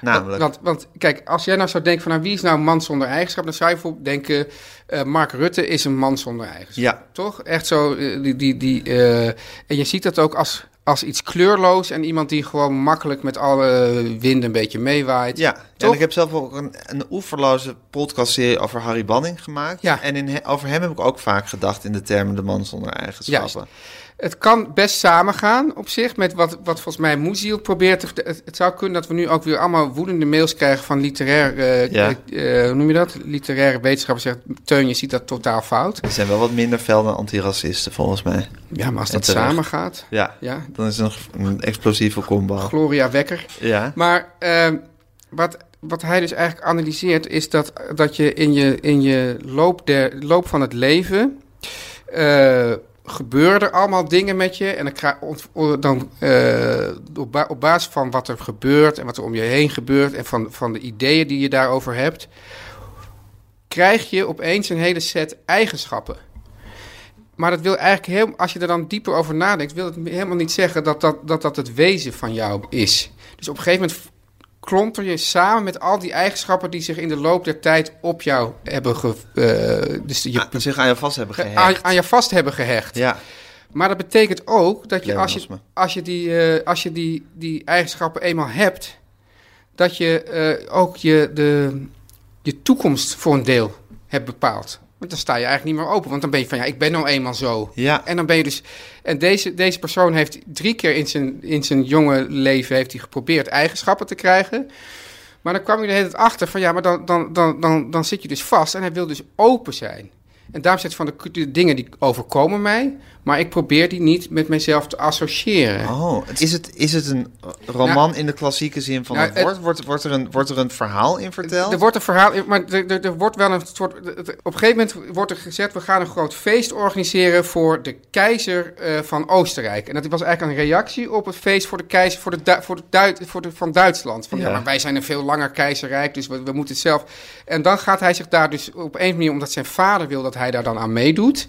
A: Namelijk.
B: Want, want kijk, als jij nou zou denken van nou, wie is nou een man zonder eigenschap, dan zou je bijvoorbeeld denken, eh, Mark Rutte is een man zonder eigenschap.
A: Ja.
B: Toch? Echt zo, eh, die, die, die, eh, en je ziet dat ook als, als iets kleurloos en iemand die gewoon makkelijk met alle wind een beetje meewaait.
A: ja, en
B: Toch?
A: ik heb zelf ook een, een oeverloze podcastserie over Harry Banning gemaakt.
B: Ja.
A: En in, he- over hem heb ik ook vaak gedacht in de termen de man zonder eigenschappen.
B: Het kan best samengaan op zich met wat, wat volgens mij Moeziel probeert. te verte- Het, het zou kunnen dat we nu ook weer allemaal woedende mails krijgen van literair, eh,
A: Ja.
B: eh, hoe noem je dat? Literaire wetenschappers zegt, Teun, je ziet dat totaal fout.
A: Er zijn wel wat minder fel dan antiracisten, volgens mij.
B: Ja, maar als
A: En
B: dat
A: terecht.
B: samengaat...
A: Ja,
B: Ja.
A: dan is het een, ge- een explosieve combo.
B: Gloria Wekker.
A: Ja,
B: Maar eh, wat, wat hij dus eigenlijk analyseert is dat, dat je in je, in je loop, der, loop van het leven eh gebeuren er allemaal dingen met je. En dan, kra- ont- o- dan eh, op, ba- op basis van wat er gebeurt en wat er om je heen gebeurt en van, van de ideeën die je daarover hebt, krijg je opeens een hele set eigenschappen. Maar dat wil eigenlijk heel, als je er dan dieper over nadenkt, wil het helemaal niet zeggen dat dat, dat, dat het wezen van jou is. Dus op een gegeven moment klonter je samen met al die eigenschappen die zich in de loop der tijd op jou hebben ge, eh, dus je,
A: Ah, zich aan je vast hebben
B: aan,
A: gehecht.
B: aan je vast hebben gehecht.
A: Ja,
B: Maar dat betekent ook dat je als je,
A: Pleonasme.
B: als je, die, eh, als je die, die eigenschappen eenmaal hebt, dat je eh, ook je, de, je toekomst voor een deel hebt bepaald. Want dan sta je eigenlijk niet meer open. Want dan ben je van ja, ik ben nou eenmaal zo.
A: ja.
B: En dan ben je dus. En deze, deze persoon heeft drie keer in zijn, in zijn jonge leven heeft hij geprobeerd eigenschappen te krijgen. Maar dan kwam je de hele tijd achter van ja, maar dan, dan, dan, dan, dan zit je dus vast en hij wil dus open zijn. En daarom zegt hij van de, de dingen die overkomen mij, maar ik probeer die niet met mezelf te associëren.
A: Oh, het- is het, is het een roman in de klassieke zin van
B: Nou,
A: het
B: het-
A: woord? Wordt, wordt, er een, wordt er een verhaal in verteld?
B: Er wordt een verhaal, in- maar er, er, er wordt wel een soort. het- Op een gegeven moment wordt er gezegd: we gaan een groot feest organiseren voor de keizer eh, van Oostenrijk. En dat was eigenlijk een reactie op het feest voor de keizer voor de, Du- voor de, Duit- voor de, van Duitsland. Van, ja.
A: Ja.
B: maar wij zijn een veel langer keizerrijk, dus we, we moeten het zelf. En dan gaat hij zich daar dus op een manier, omdat zijn vader wil dat hij daar dan aan meedoet.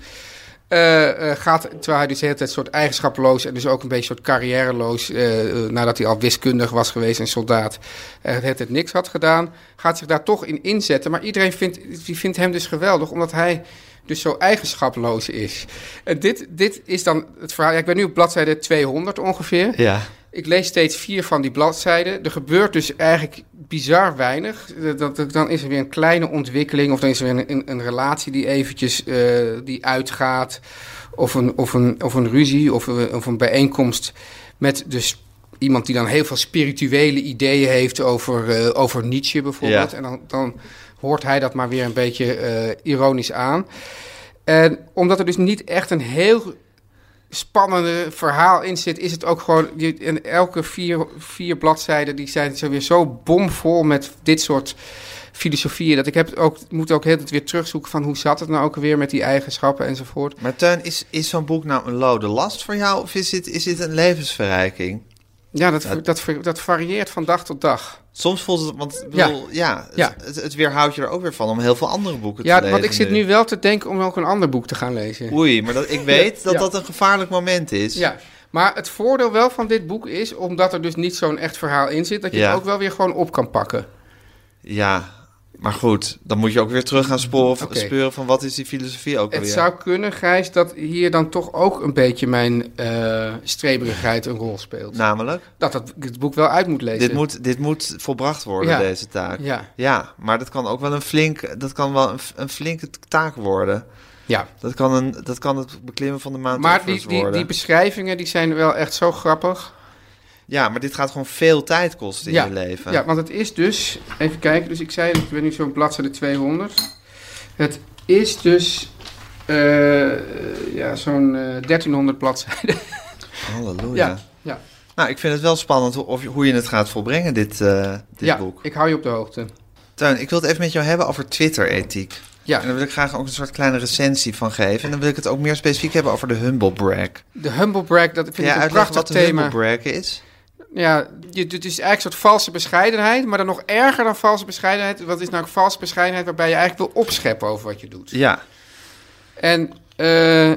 B: eh, eh, gaat, terwijl hij dus de hele tijd soort eigenschaploos en dus ook een beetje soort carrièreloos, eh, eh, nadat hij al wiskundig was geweest en soldaat, eh, de hele tijd niks had gedaan, gaat zich daar toch in inzetten. Maar iedereen vindt, die vindt hem dus geweldig, omdat hij dus zo eigenschaploos is. En dit, dit is dan het verhaal. Ja, ik ben nu op bladzijde 200 ongeveer.
A: Ja.
B: Ik lees steeds vier van die bladzijden. Er gebeurt dus eigenlijk bizar weinig. Eh, dat- dat- Dan is er weer een kleine ontwikkeling. Of dan is er een, een, een relatie die eventjes eh, die uitgaat. Of een, of, een, of een ruzie. Of een, of een bijeenkomst met dus iemand die dan heel veel spirituele ideeën heeft over, eh, over Nietzsche bijvoorbeeld.
A: Ja.
B: En dan, dan hoort hij dat maar weer een beetje eh, ironisch aan. En omdat er dus niet echt een heel spannende verhaal in zit, is het ook gewoon. je- En elke vier, vier bladzijden die zijn zo weer zo bomvol met dit soort filosofieën. Dat ik heb het ook, moet ook heel het weer terugzoeken van hoe zat het nou ook weer met die eigenschappen enzovoort.
A: Maar Teun, is, is zo'n boek nou een lode last voor jou? Of is dit, is dit een levensverrijking?
B: Ja, dat, dat, dat, dat varieert van dag tot dag.
A: Soms voelt het, want ik
B: Ja.
A: bedoel, ja, het,
B: Ja.
A: Het, het weerhoudt je er ook weer van om heel veel andere boeken te
B: Ja,
A: lezen.
B: want ik zit nu wel te denken om ook een ander boek te gaan lezen.
A: Oei, maar dat, ik weet dat
B: *laughs* Ja.
A: dat een gevaarlijk moment is.
B: Ja, maar het voordeel wel van dit boek is, omdat er dus niet zo'n echt verhaal in zit, dat je
A: Ja.
B: het ook wel weer gewoon op kan pakken.
A: Ja, maar goed, dan moet je ook weer terug gaan sporen,
B: Oké.
A: speuren van wat is die filosofie ook
B: Het
A: alweer.
B: zou kunnen, Gijs, dat hier dan toch ook een beetje mijn eh, streberigheid een rol speelt.
A: Namelijk,
B: dat dat, ik het boek wel uit moet lezen.
A: Nou. dit moet, dit moet volbracht worden,
B: Ja.
A: deze taak.
B: Ja,
A: Ja, maar dat kan ook wel een flink, dat kan wel een, f- een flinke t- taak worden.
B: ja.
A: Dat kan, een, dat kan het beklimmen van de maand
B: Maar die, die,
A: worden.
B: die beschrijvingen die zijn wel echt zo grappig.
A: Ja, maar dit gaat gewoon veel tijd kosten in
B: ja.
A: je leven.
B: Ja, want het is dus... Even kijken, dus ik zei... Ik ben nu zo'n bladzijde 200. Het is dus... eh, ja, zo'n eh, 1300 bladzijden.
A: Oh, Halleluja.
B: ja. ja.
A: Nou, ik vind het wel spannend ho- of, je- hoe je het gaat volbrengen, dit, eh, dit
B: ja,
A: boek.
B: ik hou je op de hoogte.
A: Tuin, ik wil het even met jou hebben over Twitter-ethiek.
B: Ja,
A: En daar wil ik graag ook een soort kleine recensie van geven. En dan wil ik het ook meer specifiek hebben over de humble brag.
B: de humble brag, dat vind
A: Kun je
B: ik een
A: uitleggen
B: prachtig
A: wat de
B: thema.
A: humble brag is?
B: Ja, je- het is eigenlijk een soort valse bescheidenheid, maar dan nog erger dan valse bescheidenheid. Wat is nou valse bescheidenheid waarbij je eigenlijk wil opscheppen over wat je doet?
A: Ja.
B: En eh,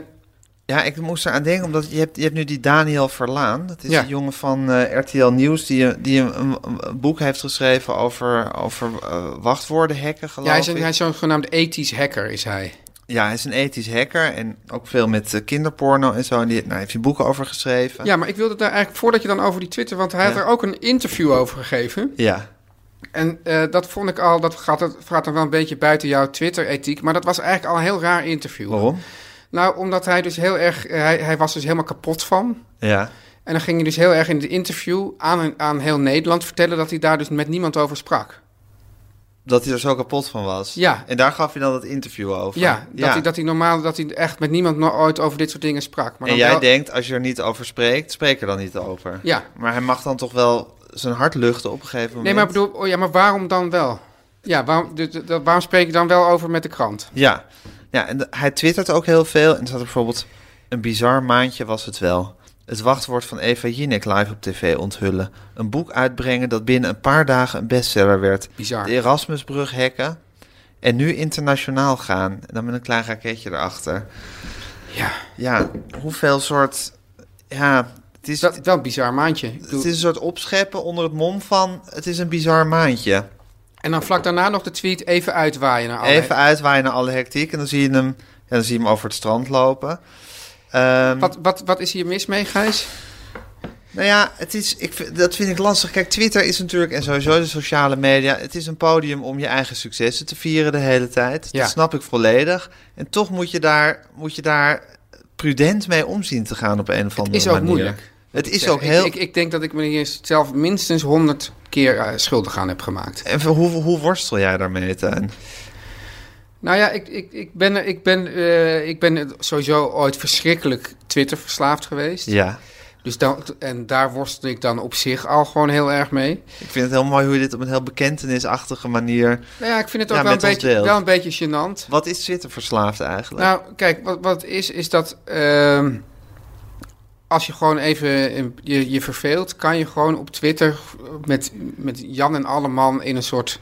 A: Ja, ik moest eraan denken, omdat je hebt, je hebt nu die Daniel Verlaan. Dat is
B: Ja.
A: een jongen van eh, RTL Nieuws die, een- die een, een- een boek heeft geschreven over, over eh, wachtwoordenhekken, geloof
B: ja, hij, is een,
A: ik.
B: hij is zo'n genaamde ethisch hacker, is hij.
A: Ja, hij is een ethisch hacker en ook veel met eh, kinderporno en zo. En die, nou, hij heeft je boeken over geschreven.
B: Ja, maar ik wilde daar eigenlijk, voordat je dan over die Twitter, want hij had
A: Ja.
B: er ook een interview over gegeven.
A: Ja.
B: En eh, dat vond ik al, dat gaat, dat gaat dan wel een beetje buiten jouw Twitter-ethiek, maar dat was eigenlijk al een heel raar interview.
A: Waarom?
B: Nou, omdat hij dus heel erg, eh, hij, hij was dus helemaal kapot van.
A: Ja.
B: En dan ging hij dus heel erg in het interview aan, aan heel Nederland vertellen dat hij daar dus met niemand over sprak.
A: Dat hij er zo kapot van was.
B: Ja.
A: En daar gaf je dan dat interview over.
B: Ja, dat, Hij, dat hij normaal, dat hij echt met niemand no- ooit over dit soort dingen sprak.
A: en
B: Maar dan
A: jij
B: wel-
A: denkt, als je er niet over spreekt, spreek er dan niet over.
B: Ja.
A: Maar hij mag dan toch wel zijn hart luchten op een gegeven moment.
B: Nee, maar ik bedoel, oh ja, maar waarom dan wel? Ja, waarom, de- de- de- waarom spreek je dan wel over met de krant?
A: Ja, ja en de- hij twittert ook heel veel. En er staat er bijvoorbeeld, een bizar maandje was het wel. Het wachtwoord van Eva Jinek live op tv onthullen. Een boek uitbrengen dat binnen een paar dagen een bestseller werd.
B: Bizar.
A: De Erasmusbrug hacken. En nu internationaal gaan. En dan met een klein raketje erachter.
B: Ja,
A: Ja, hoeveel soort... Ja, het is,
B: is dat wel een bizar maandje? Ik bedoel-
A: het is een soort opscheppen onder het mom van... Het is een bizar maandje.
B: En dan vlak daarna nog de tweet even uitwaaien naar alle...
A: Even uitwaaien naar alle hectiek. En dan zie je hem, ja, dan zie je hem over het strand lopen. Ehm,
B: Wat, wat, wat is hier mis mee, Gijs?
A: Nou ja, het is, ik, vind- dat vind ik lastig. Kijk, Twitter is natuurlijk en sowieso de sociale media. Het is een podium om je eigen successen te vieren de hele tijd.
B: Ja.
A: Dat snap ik volledig. En toch moet je daar, moet je daar prudent mee omzien te gaan op een of andere manier.
B: is ook moeilijk.
A: Het is
B: Zeg,
A: ook
B: ik-
A: heel.
B: Ik, ik, denk dat ik me hier zelf minstens honderd keer eh, schuldig aan heb gemaakt.
A: En hoe, hoe worstel jij daarmee, Tuin?
B: Nou ja, ik, ik, ik ben, ik ben, eh, ik ben sowieso ooit verschrikkelijk Twitter verslaafd geweest.
A: Ja.
B: Dus dan, en daar worstel ik dan op zich al gewoon heel erg mee.
A: Ik vind het heel mooi hoe je dit op een heel bekentenisachtige manier.
B: Nou ja, ik vind het ook
A: Ja,
B: wel, een
A: met ons
B: beetje,
A: deelt.
B: wel een beetje gênant.
A: Wat is Twitter verslaafd eigenlijk?
B: Nou, kijk, wat, wat is, is dat ehm, als je gewoon even een- je, je verveelt, kan je gewoon op Twitter met, met Jan en Alleman in een soort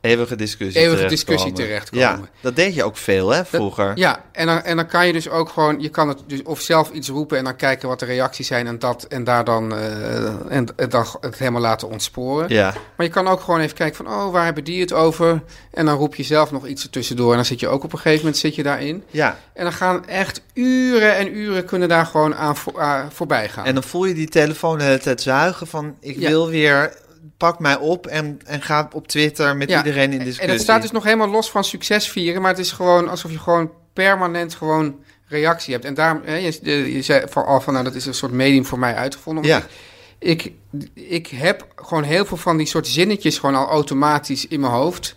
A: eeuwige discussie.
B: eeuwige
A: terechtkomen.
B: discussie terechtkomen.
A: Ja, dat deed je ook veel, hè, vroeger.
B: Ja, en dan, en dan kan je dus ook gewoon, je kan het dus of zelf iets roepen en dan kijken wat de reacties zijn en, dat, en daar dan, eh, en, en dan het helemaal laten ontsporen.
A: ja.
B: Maar je kan ook gewoon even kijken van, oh, waar hebben die het over? En dan roep je zelf nog iets ertussendoor en dan zit je ook op een gegeven moment zit je daarin.
A: ja.
B: En dan gaan echt uren en uren kunnen daar gewoon aan voor- aan voorbij gaan.
A: En dan voel je die telefoon de hele tijd zuigen van... ik
B: Ja.
A: wil weer, pak mij op en, en ga op Twitter met
B: Ja,
A: iedereen in
B: en-
A: discussie.
B: En het staat dus nog helemaal los van succes vieren, maar het is gewoon alsof je gewoon permanent gewoon reactie hebt. En daarom, hè, je, je, je zei van, al van, nou dat is een soort medium voor mij uitgevonden.
A: Ja.
B: Want Ik, ik, ik heb gewoon heel veel van die soort zinnetjes gewoon al automatisch in mijn hoofd.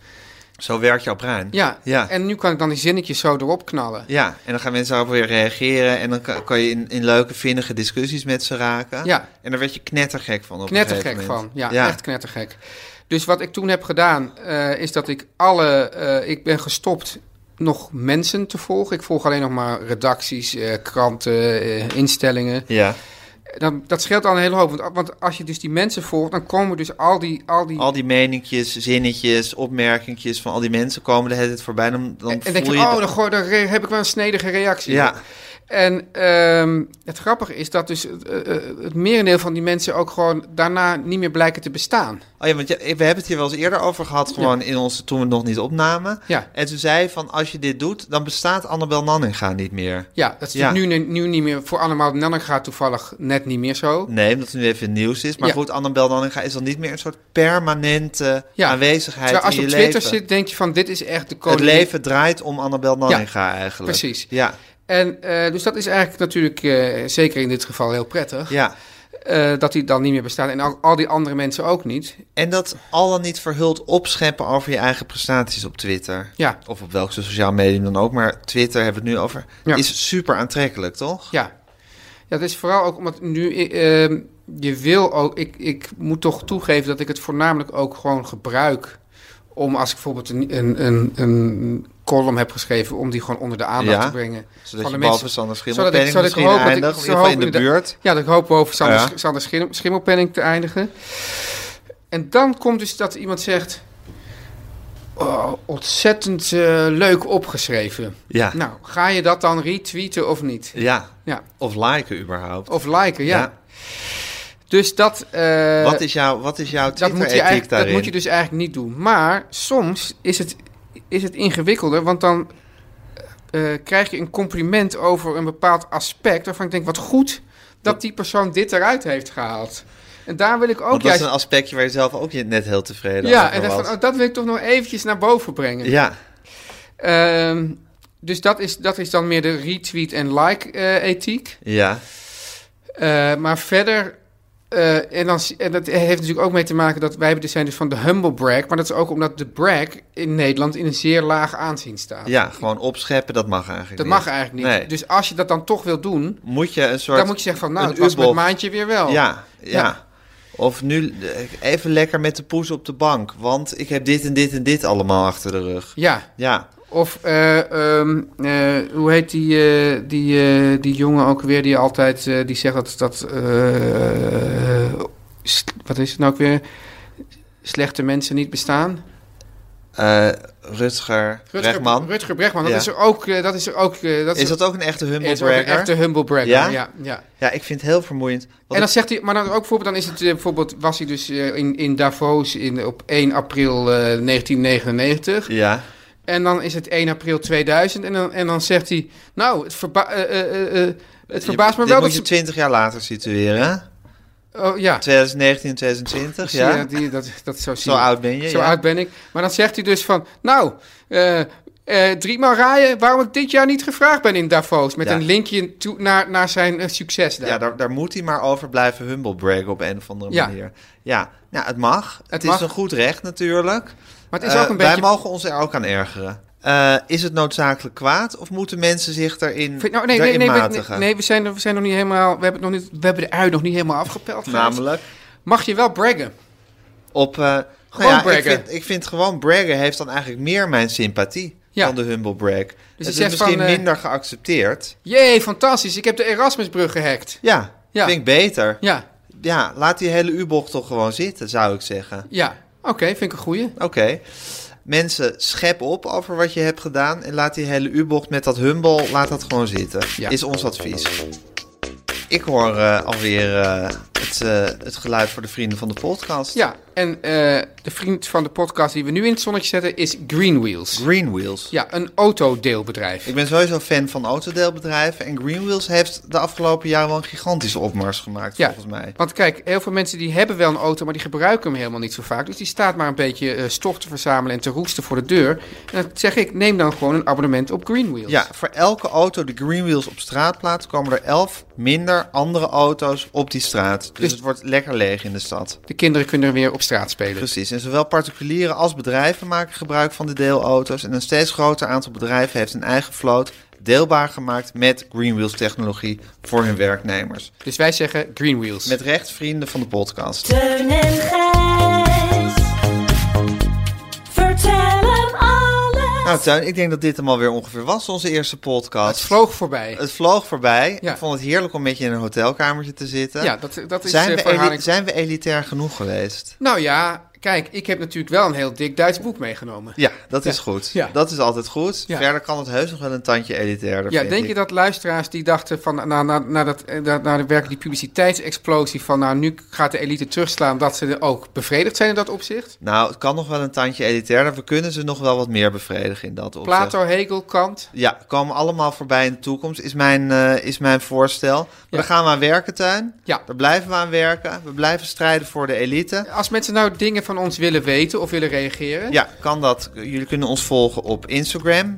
A: Zo werkt jouw brein.
B: Ja,
A: Ja.
B: en nu kan ik dan die zinnetjes zo erop knallen.
A: Ja, en dan gaan mensen daarop weer reageren... en dan kan, kan je in, in leuke, vinnige discussies met ze raken.
B: Ja.
A: En daar werd je knettergek van op een
B: Knettergek
A: gegeven
B: van,
A: moment.
B: ja, echt knettergek. Dus wat ik toen heb gedaan, eh, is dat ik alle, eh, ik ben gestopt nog mensen te volgen. Ik volg alleen nog maar redacties, eh, kranten, eh, instellingen.
A: Ja,
B: Dan, dat scheelt al een hele hoop. Want, want als je dus die mensen volgt, dan komen dus al die. Al die,
A: al die meninkjes, zinnetjes, opmerkingjes van al die mensen komen de hele tijd voorbij. Dan, dan
B: en
A: voel
B: denk je,
A: je
B: oh,
A: dat-
B: dan, gooi- dan re- heb ik wel een snedige reactie.
A: Ja.
B: En ehm, het grappige is dat dus eh, eh, het merendeel van die mensen ook gewoon daarna niet meer blijken te bestaan.
A: Oh ja, want ja, we hebben het hier wel eens eerder over gehad, gewoon in onze, toen we het nog niet opnamen.
B: Ja.
A: En toen zei je van, als je dit doet, dan bestaat Annabel Nanninga niet meer.
B: Ja, dat is
A: Ja.
B: Nu, nu niet meer. Voor Annemaal Nanninga toevallig net niet meer zo.
A: Nee, omdat het nu even in het nieuws is. Maar
B: Ja.
A: goed, Annabel Nanninga is dan niet meer een soort permanente
B: Ja.
A: aanwezigheid
B: Terwijl als je
A: in
B: op
A: je
B: Twitter
A: leven.
B: zit, denk je van dit is echt de
A: het
B: koning.
A: leven draait om Annabel Nanninga eigenlijk.
B: precies.
A: Ja,
B: En eh, dus dat is eigenlijk natuurlijk, eh, zeker in dit geval, heel prettig.
A: ja.
B: eh, dat die dan niet meer bestaan. En al, al die andere mensen ook niet.
A: En dat al dan niet verhuld opscheppen over je eigen prestaties op Twitter.
B: Ja.
A: Of op welk sociaal medium dan ook. Maar Twitter hebben we het nu over.
B: Ja.
A: Is super aantrekkelijk, toch?
B: Ja. Ja, dat is vooral ook omdat nu eh, ehm, je wil ook. Ik, ik moet toch toegeven dat ik het voornamelijk ook gewoon gebruik. Om als ik bijvoorbeeld een, een, een, een column heb geschreven om die gewoon onder de aandacht
A: Ja.
B: te brengen.
A: Zodat je
B: van de
A: behalve
B: mensen.
A: Sander
B: zodat ik-
A: Schimmelpenning
B: zodat ik
A: misschien
B: hoop dat ik-
A: eindigt, in
B: zo
A: ieder geval in
B: hoop
A: de
B: inderdaad-
A: buurt.
B: Ja, dat ik hoop boven Sander,
A: Ja.
B: Sander Schimmel- Schimmelpenning te eindigen. En dan komt dus dat iemand zegt... "Oh, ontzettend eh, leuk opgeschreven.
A: Ja.
B: Nou, ga je dat dan retweeten of niet?
A: ja,
B: Ja.
A: of liken überhaupt.
B: Of liken, ja.
A: Ja.
B: Dus dat... eh,
A: wat, is jouw, wat is jouw
B: dat moet, je
A: Twitter-ethiek
B: eigenlijk, dat
A: daarin?
B: moet je dus eigenlijk niet doen. Maar soms is het, is het ingewikkelder, want dan eh, krijg je een compliment over een bepaald aspect waarvan ik denk, wat goed dat die persoon dit eruit heeft gehaald. En daar wil ik ook
A: Want dat is
B: juist...
A: een aspectje waar je zelf ook je- net heel tevreden
B: ja,
A: over
B: en dat,
A: was.
B: van, oh, dat wil ik toch nog eventjes naar boven brengen.
A: Ja,
B: Ehm, dus dat is, dat is dan meer de retweet- en eh, like-ethiek.
A: ja.
B: Eh, maar verder. eh, en, dan, en dat heeft natuurlijk ook mee te maken dat wij dus zijn dus van de humble brag. Maar dat is ook omdat de brag in Nederland in een zeer laag aanzien staat.
A: Ja, gewoon opscheppen, dat mag eigenlijk
B: dat
A: niet.
B: mag eigenlijk niet.
A: Nee.
B: Dus als je dat dan toch wil doen,
A: Moet je een soort...
B: dan moet je zeggen van nou,
A: een
B: het was
A: U-bocht.
B: mijn maandje weer wel.
A: Ja, ja,
B: Ja.
A: Of nu eh, even lekker met de poes op de bank, want ik heb dit en dit en dit allemaal achter de rug.
B: Ja.
A: Ja,
B: Of eh, ehm, eh, hoe heet die, eh, die, eh, die jongen ook weer die altijd eh, die zegt dat. dat eh, s- wat is het nou ook weer? Slechte mensen niet bestaan.
A: eh, Rutger, Bregman.
B: Rutger Bregman, dat
A: Ja.
B: is er ook. eh, Dat is er ook. eh, dat
A: Is dat ook een echte
B: Hij is ook een
A: humblebreaker?
B: echte humble bragger.
A: Ja?
B: Ja? Ja,
A: Ja, ik vind het heel vermoeiend.
B: En
A: Want
B: dan zegt hij, maar dan ook bijvoorbeeld, dan is het eh, bijvoorbeeld, was hij dus eh, in, in Davos in, op 1 april eh, 1999.
A: ik- Ja,
B: En dan is het 1 april 2000. En dan, en dan zegt hij, nou, het, verba eh, eh, eh, eh, het verbaast
A: je,
B: me
A: dit
B: wel
A: moet je
B: dat ze.
A: 20 jaar later situeren.
B: Oh ja,
A: 2019, 2020,
B: Zie je,
A: ja.
B: die, dat, dat zo zie
A: Zo
B: je.
A: oud ben je,
B: Zo
A: ja.
B: oud ben ik. Maar dan zegt hij dus van, nou, eh eh driemaal rijden waarom ik dit jaar niet gevraagd ben in Davos. Met
A: Ja.
B: een linkje toe naar, naar zijn eh, succes daar.
A: Ja, daar, daar moet hij maar over blijven humblebraggen op een of andere
B: Ja.
A: manier. Ja, nou, het mag. Het,
B: mag.
A: is een goed recht natuurlijk.
B: maar het is
A: Eh,
B: ook een
A: wij
B: beetje...
A: mogen ons er ook aan ergeren. Eh, is het noodzakelijk kwaad of moeten mensen zich daarin,
B: Vind- nou, nee, nee,
A: daarin
B: nee, we,
A: matigen?
B: nee, nee, we zijn, er- we zijn nog niet helemaal. We hebben, het nog niet, we hebben de ui nog niet helemaal afgepeld. Gijs.
A: Namelijk
B: Mag je wel braggen?
A: op... eh, nou
B: Gewoon
A: ja, ik,
B: braggen.
A: vind, ik vind gewoon braggen heeft dan eigenlijk meer mijn sympathie
B: Ja.
A: dan de humble brag.
B: je
A: Dus het is
B: zegt
A: misschien
B: van, eh,
A: minder geaccepteerd.
B: Jee, fantastisch. Ik heb de Erasmusbrug gehackt.
A: Ja,
B: Ja.
A: vind ik beter. Ja.
B: Ja,
A: laat die hele U-bocht toch gewoon zitten, zou ik zeggen.
B: ja. Oké, vind ik een goeie.
A: Oké. Mensen, schep op over wat je hebt gedaan en laat die hele U-bocht met dat humble, laat dat gewoon zitten.
B: Ja.
A: Is ons advies. Ik hoor eh, alweer eh, het, eh, het geluid voor de vrienden van de podcast.
B: Ja, en eh, de vriend van de podcast die we nu in het zonnetje zetten is Greenwheels.
A: Green Wheels.
B: Ja, een autodeelbedrijf.
A: Ik ben sowieso fan van autodeelbedrijven en Green Wheels heeft de afgelopen jaren wel een gigantische opmars gemaakt,
B: Ja,
A: volgens mij.
B: want kijk, heel veel mensen die hebben wel een auto, maar die gebruiken hem helemaal niet zo vaak. Dus die staat maar een beetje eh, stof te verzamelen en te roesten voor de deur. En dan zeg ik, neem dan gewoon een abonnement op Greenwheels.
A: Ja, voor elke auto die Green Wheels op straat plaatst, komen er elf minder andere auto's op die straat. Dus,
B: Dus-
A: het wordt lekker leeg in de stad.
B: De kinderen kunnen weer op straat spelen.
A: Precies, en zowel particulieren als bedrijven maken gebruik van de deelauto's. En een steeds groter aantal bedrijven heeft een eigen vloot deelbaar gemaakt met Green Wheels technologie voor hun werknemers.
B: Dus wij zeggen Green Wheels.
A: Met recht vrienden van de podcast.
D: Teun en Gijs. Vertel hem alles.
A: Nou Tuin, ik denk dat dit hem alweer ongeveer was, onze eerste podcast.
B: het vloog voorbij.
A: Het vloog voorbij.
B: Ja.
A: Ik vond het heerlijk om met je in een hotelkamertje te zitten.
B: ja, dat, dat is
A: zijn,
B: eh,
A: we
B: verhaling-
A: eli- zijn we elitair genoeg geweest?
B: Nou ja, kijk, ik heb natuurlijk wel een heel dik Duits boek meegenomen.
A: Ja, dat
B: Ja.
A: is goed.
B: Ja.
A: Dat is altijd goed.
B: Ja.
A: Verder kan het heus nog wel een tandje elitairder.
B: Ja,
A: vind
B: denk je
A: ik.
B: dat luisteraars die dachten van na, na, na, dat, eh, na, na de werk die publiciteitsexplosie van nou nu gaat de elite terugslaan, dat ze er ook bevredigd zijn in dat opzicht?
A: Nou, het kan nog wel een tandje elitairder. We kunnen ze nog wel wat meer bevredigen in dat opzicht.
B: Plato, Hegel, Kant.
A: Ja, komen allemaal voorbij in de toekomst, is mijn, eh, is mijn voorstel. Maar
B: Ja.
A: Daar gaan we aan werken, Tuin.
B: Ja.
A: Daar blijven we aan werken. We blijven strijden voor de elite.
B: Als mensen nou dingen van ons willen weten of willen reageren,
A: Ja, kan dat. Jullie kunnen ons volgen op Instagram,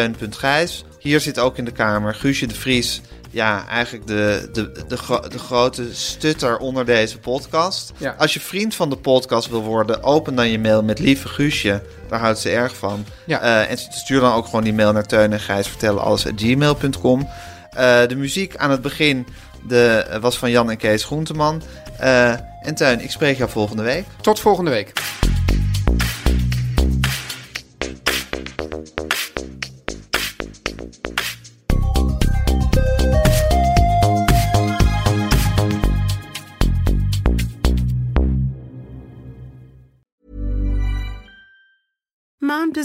A: teun.gijs. Hier zit ook in de kamer Guusje de Vries. Ja, eigenlijk de, de, de, gro- de grote stutter onder deze podcast.
B: Ja.
A: Als je vriend van de podcast wil worden, open dan je mail met lieve Guusje. Daar houdt ze erg van.
B: Ja.
A: Eh, en stuur dan ook gewoon die mail naar teun en gijs vertellen alles at gmail.com. Eh, de muziek aan het begin de, was van Jan en Kees Groenteman. Eh, en Teun, ik spreek jou volgende week.
B: tot volgende week.
E: Mom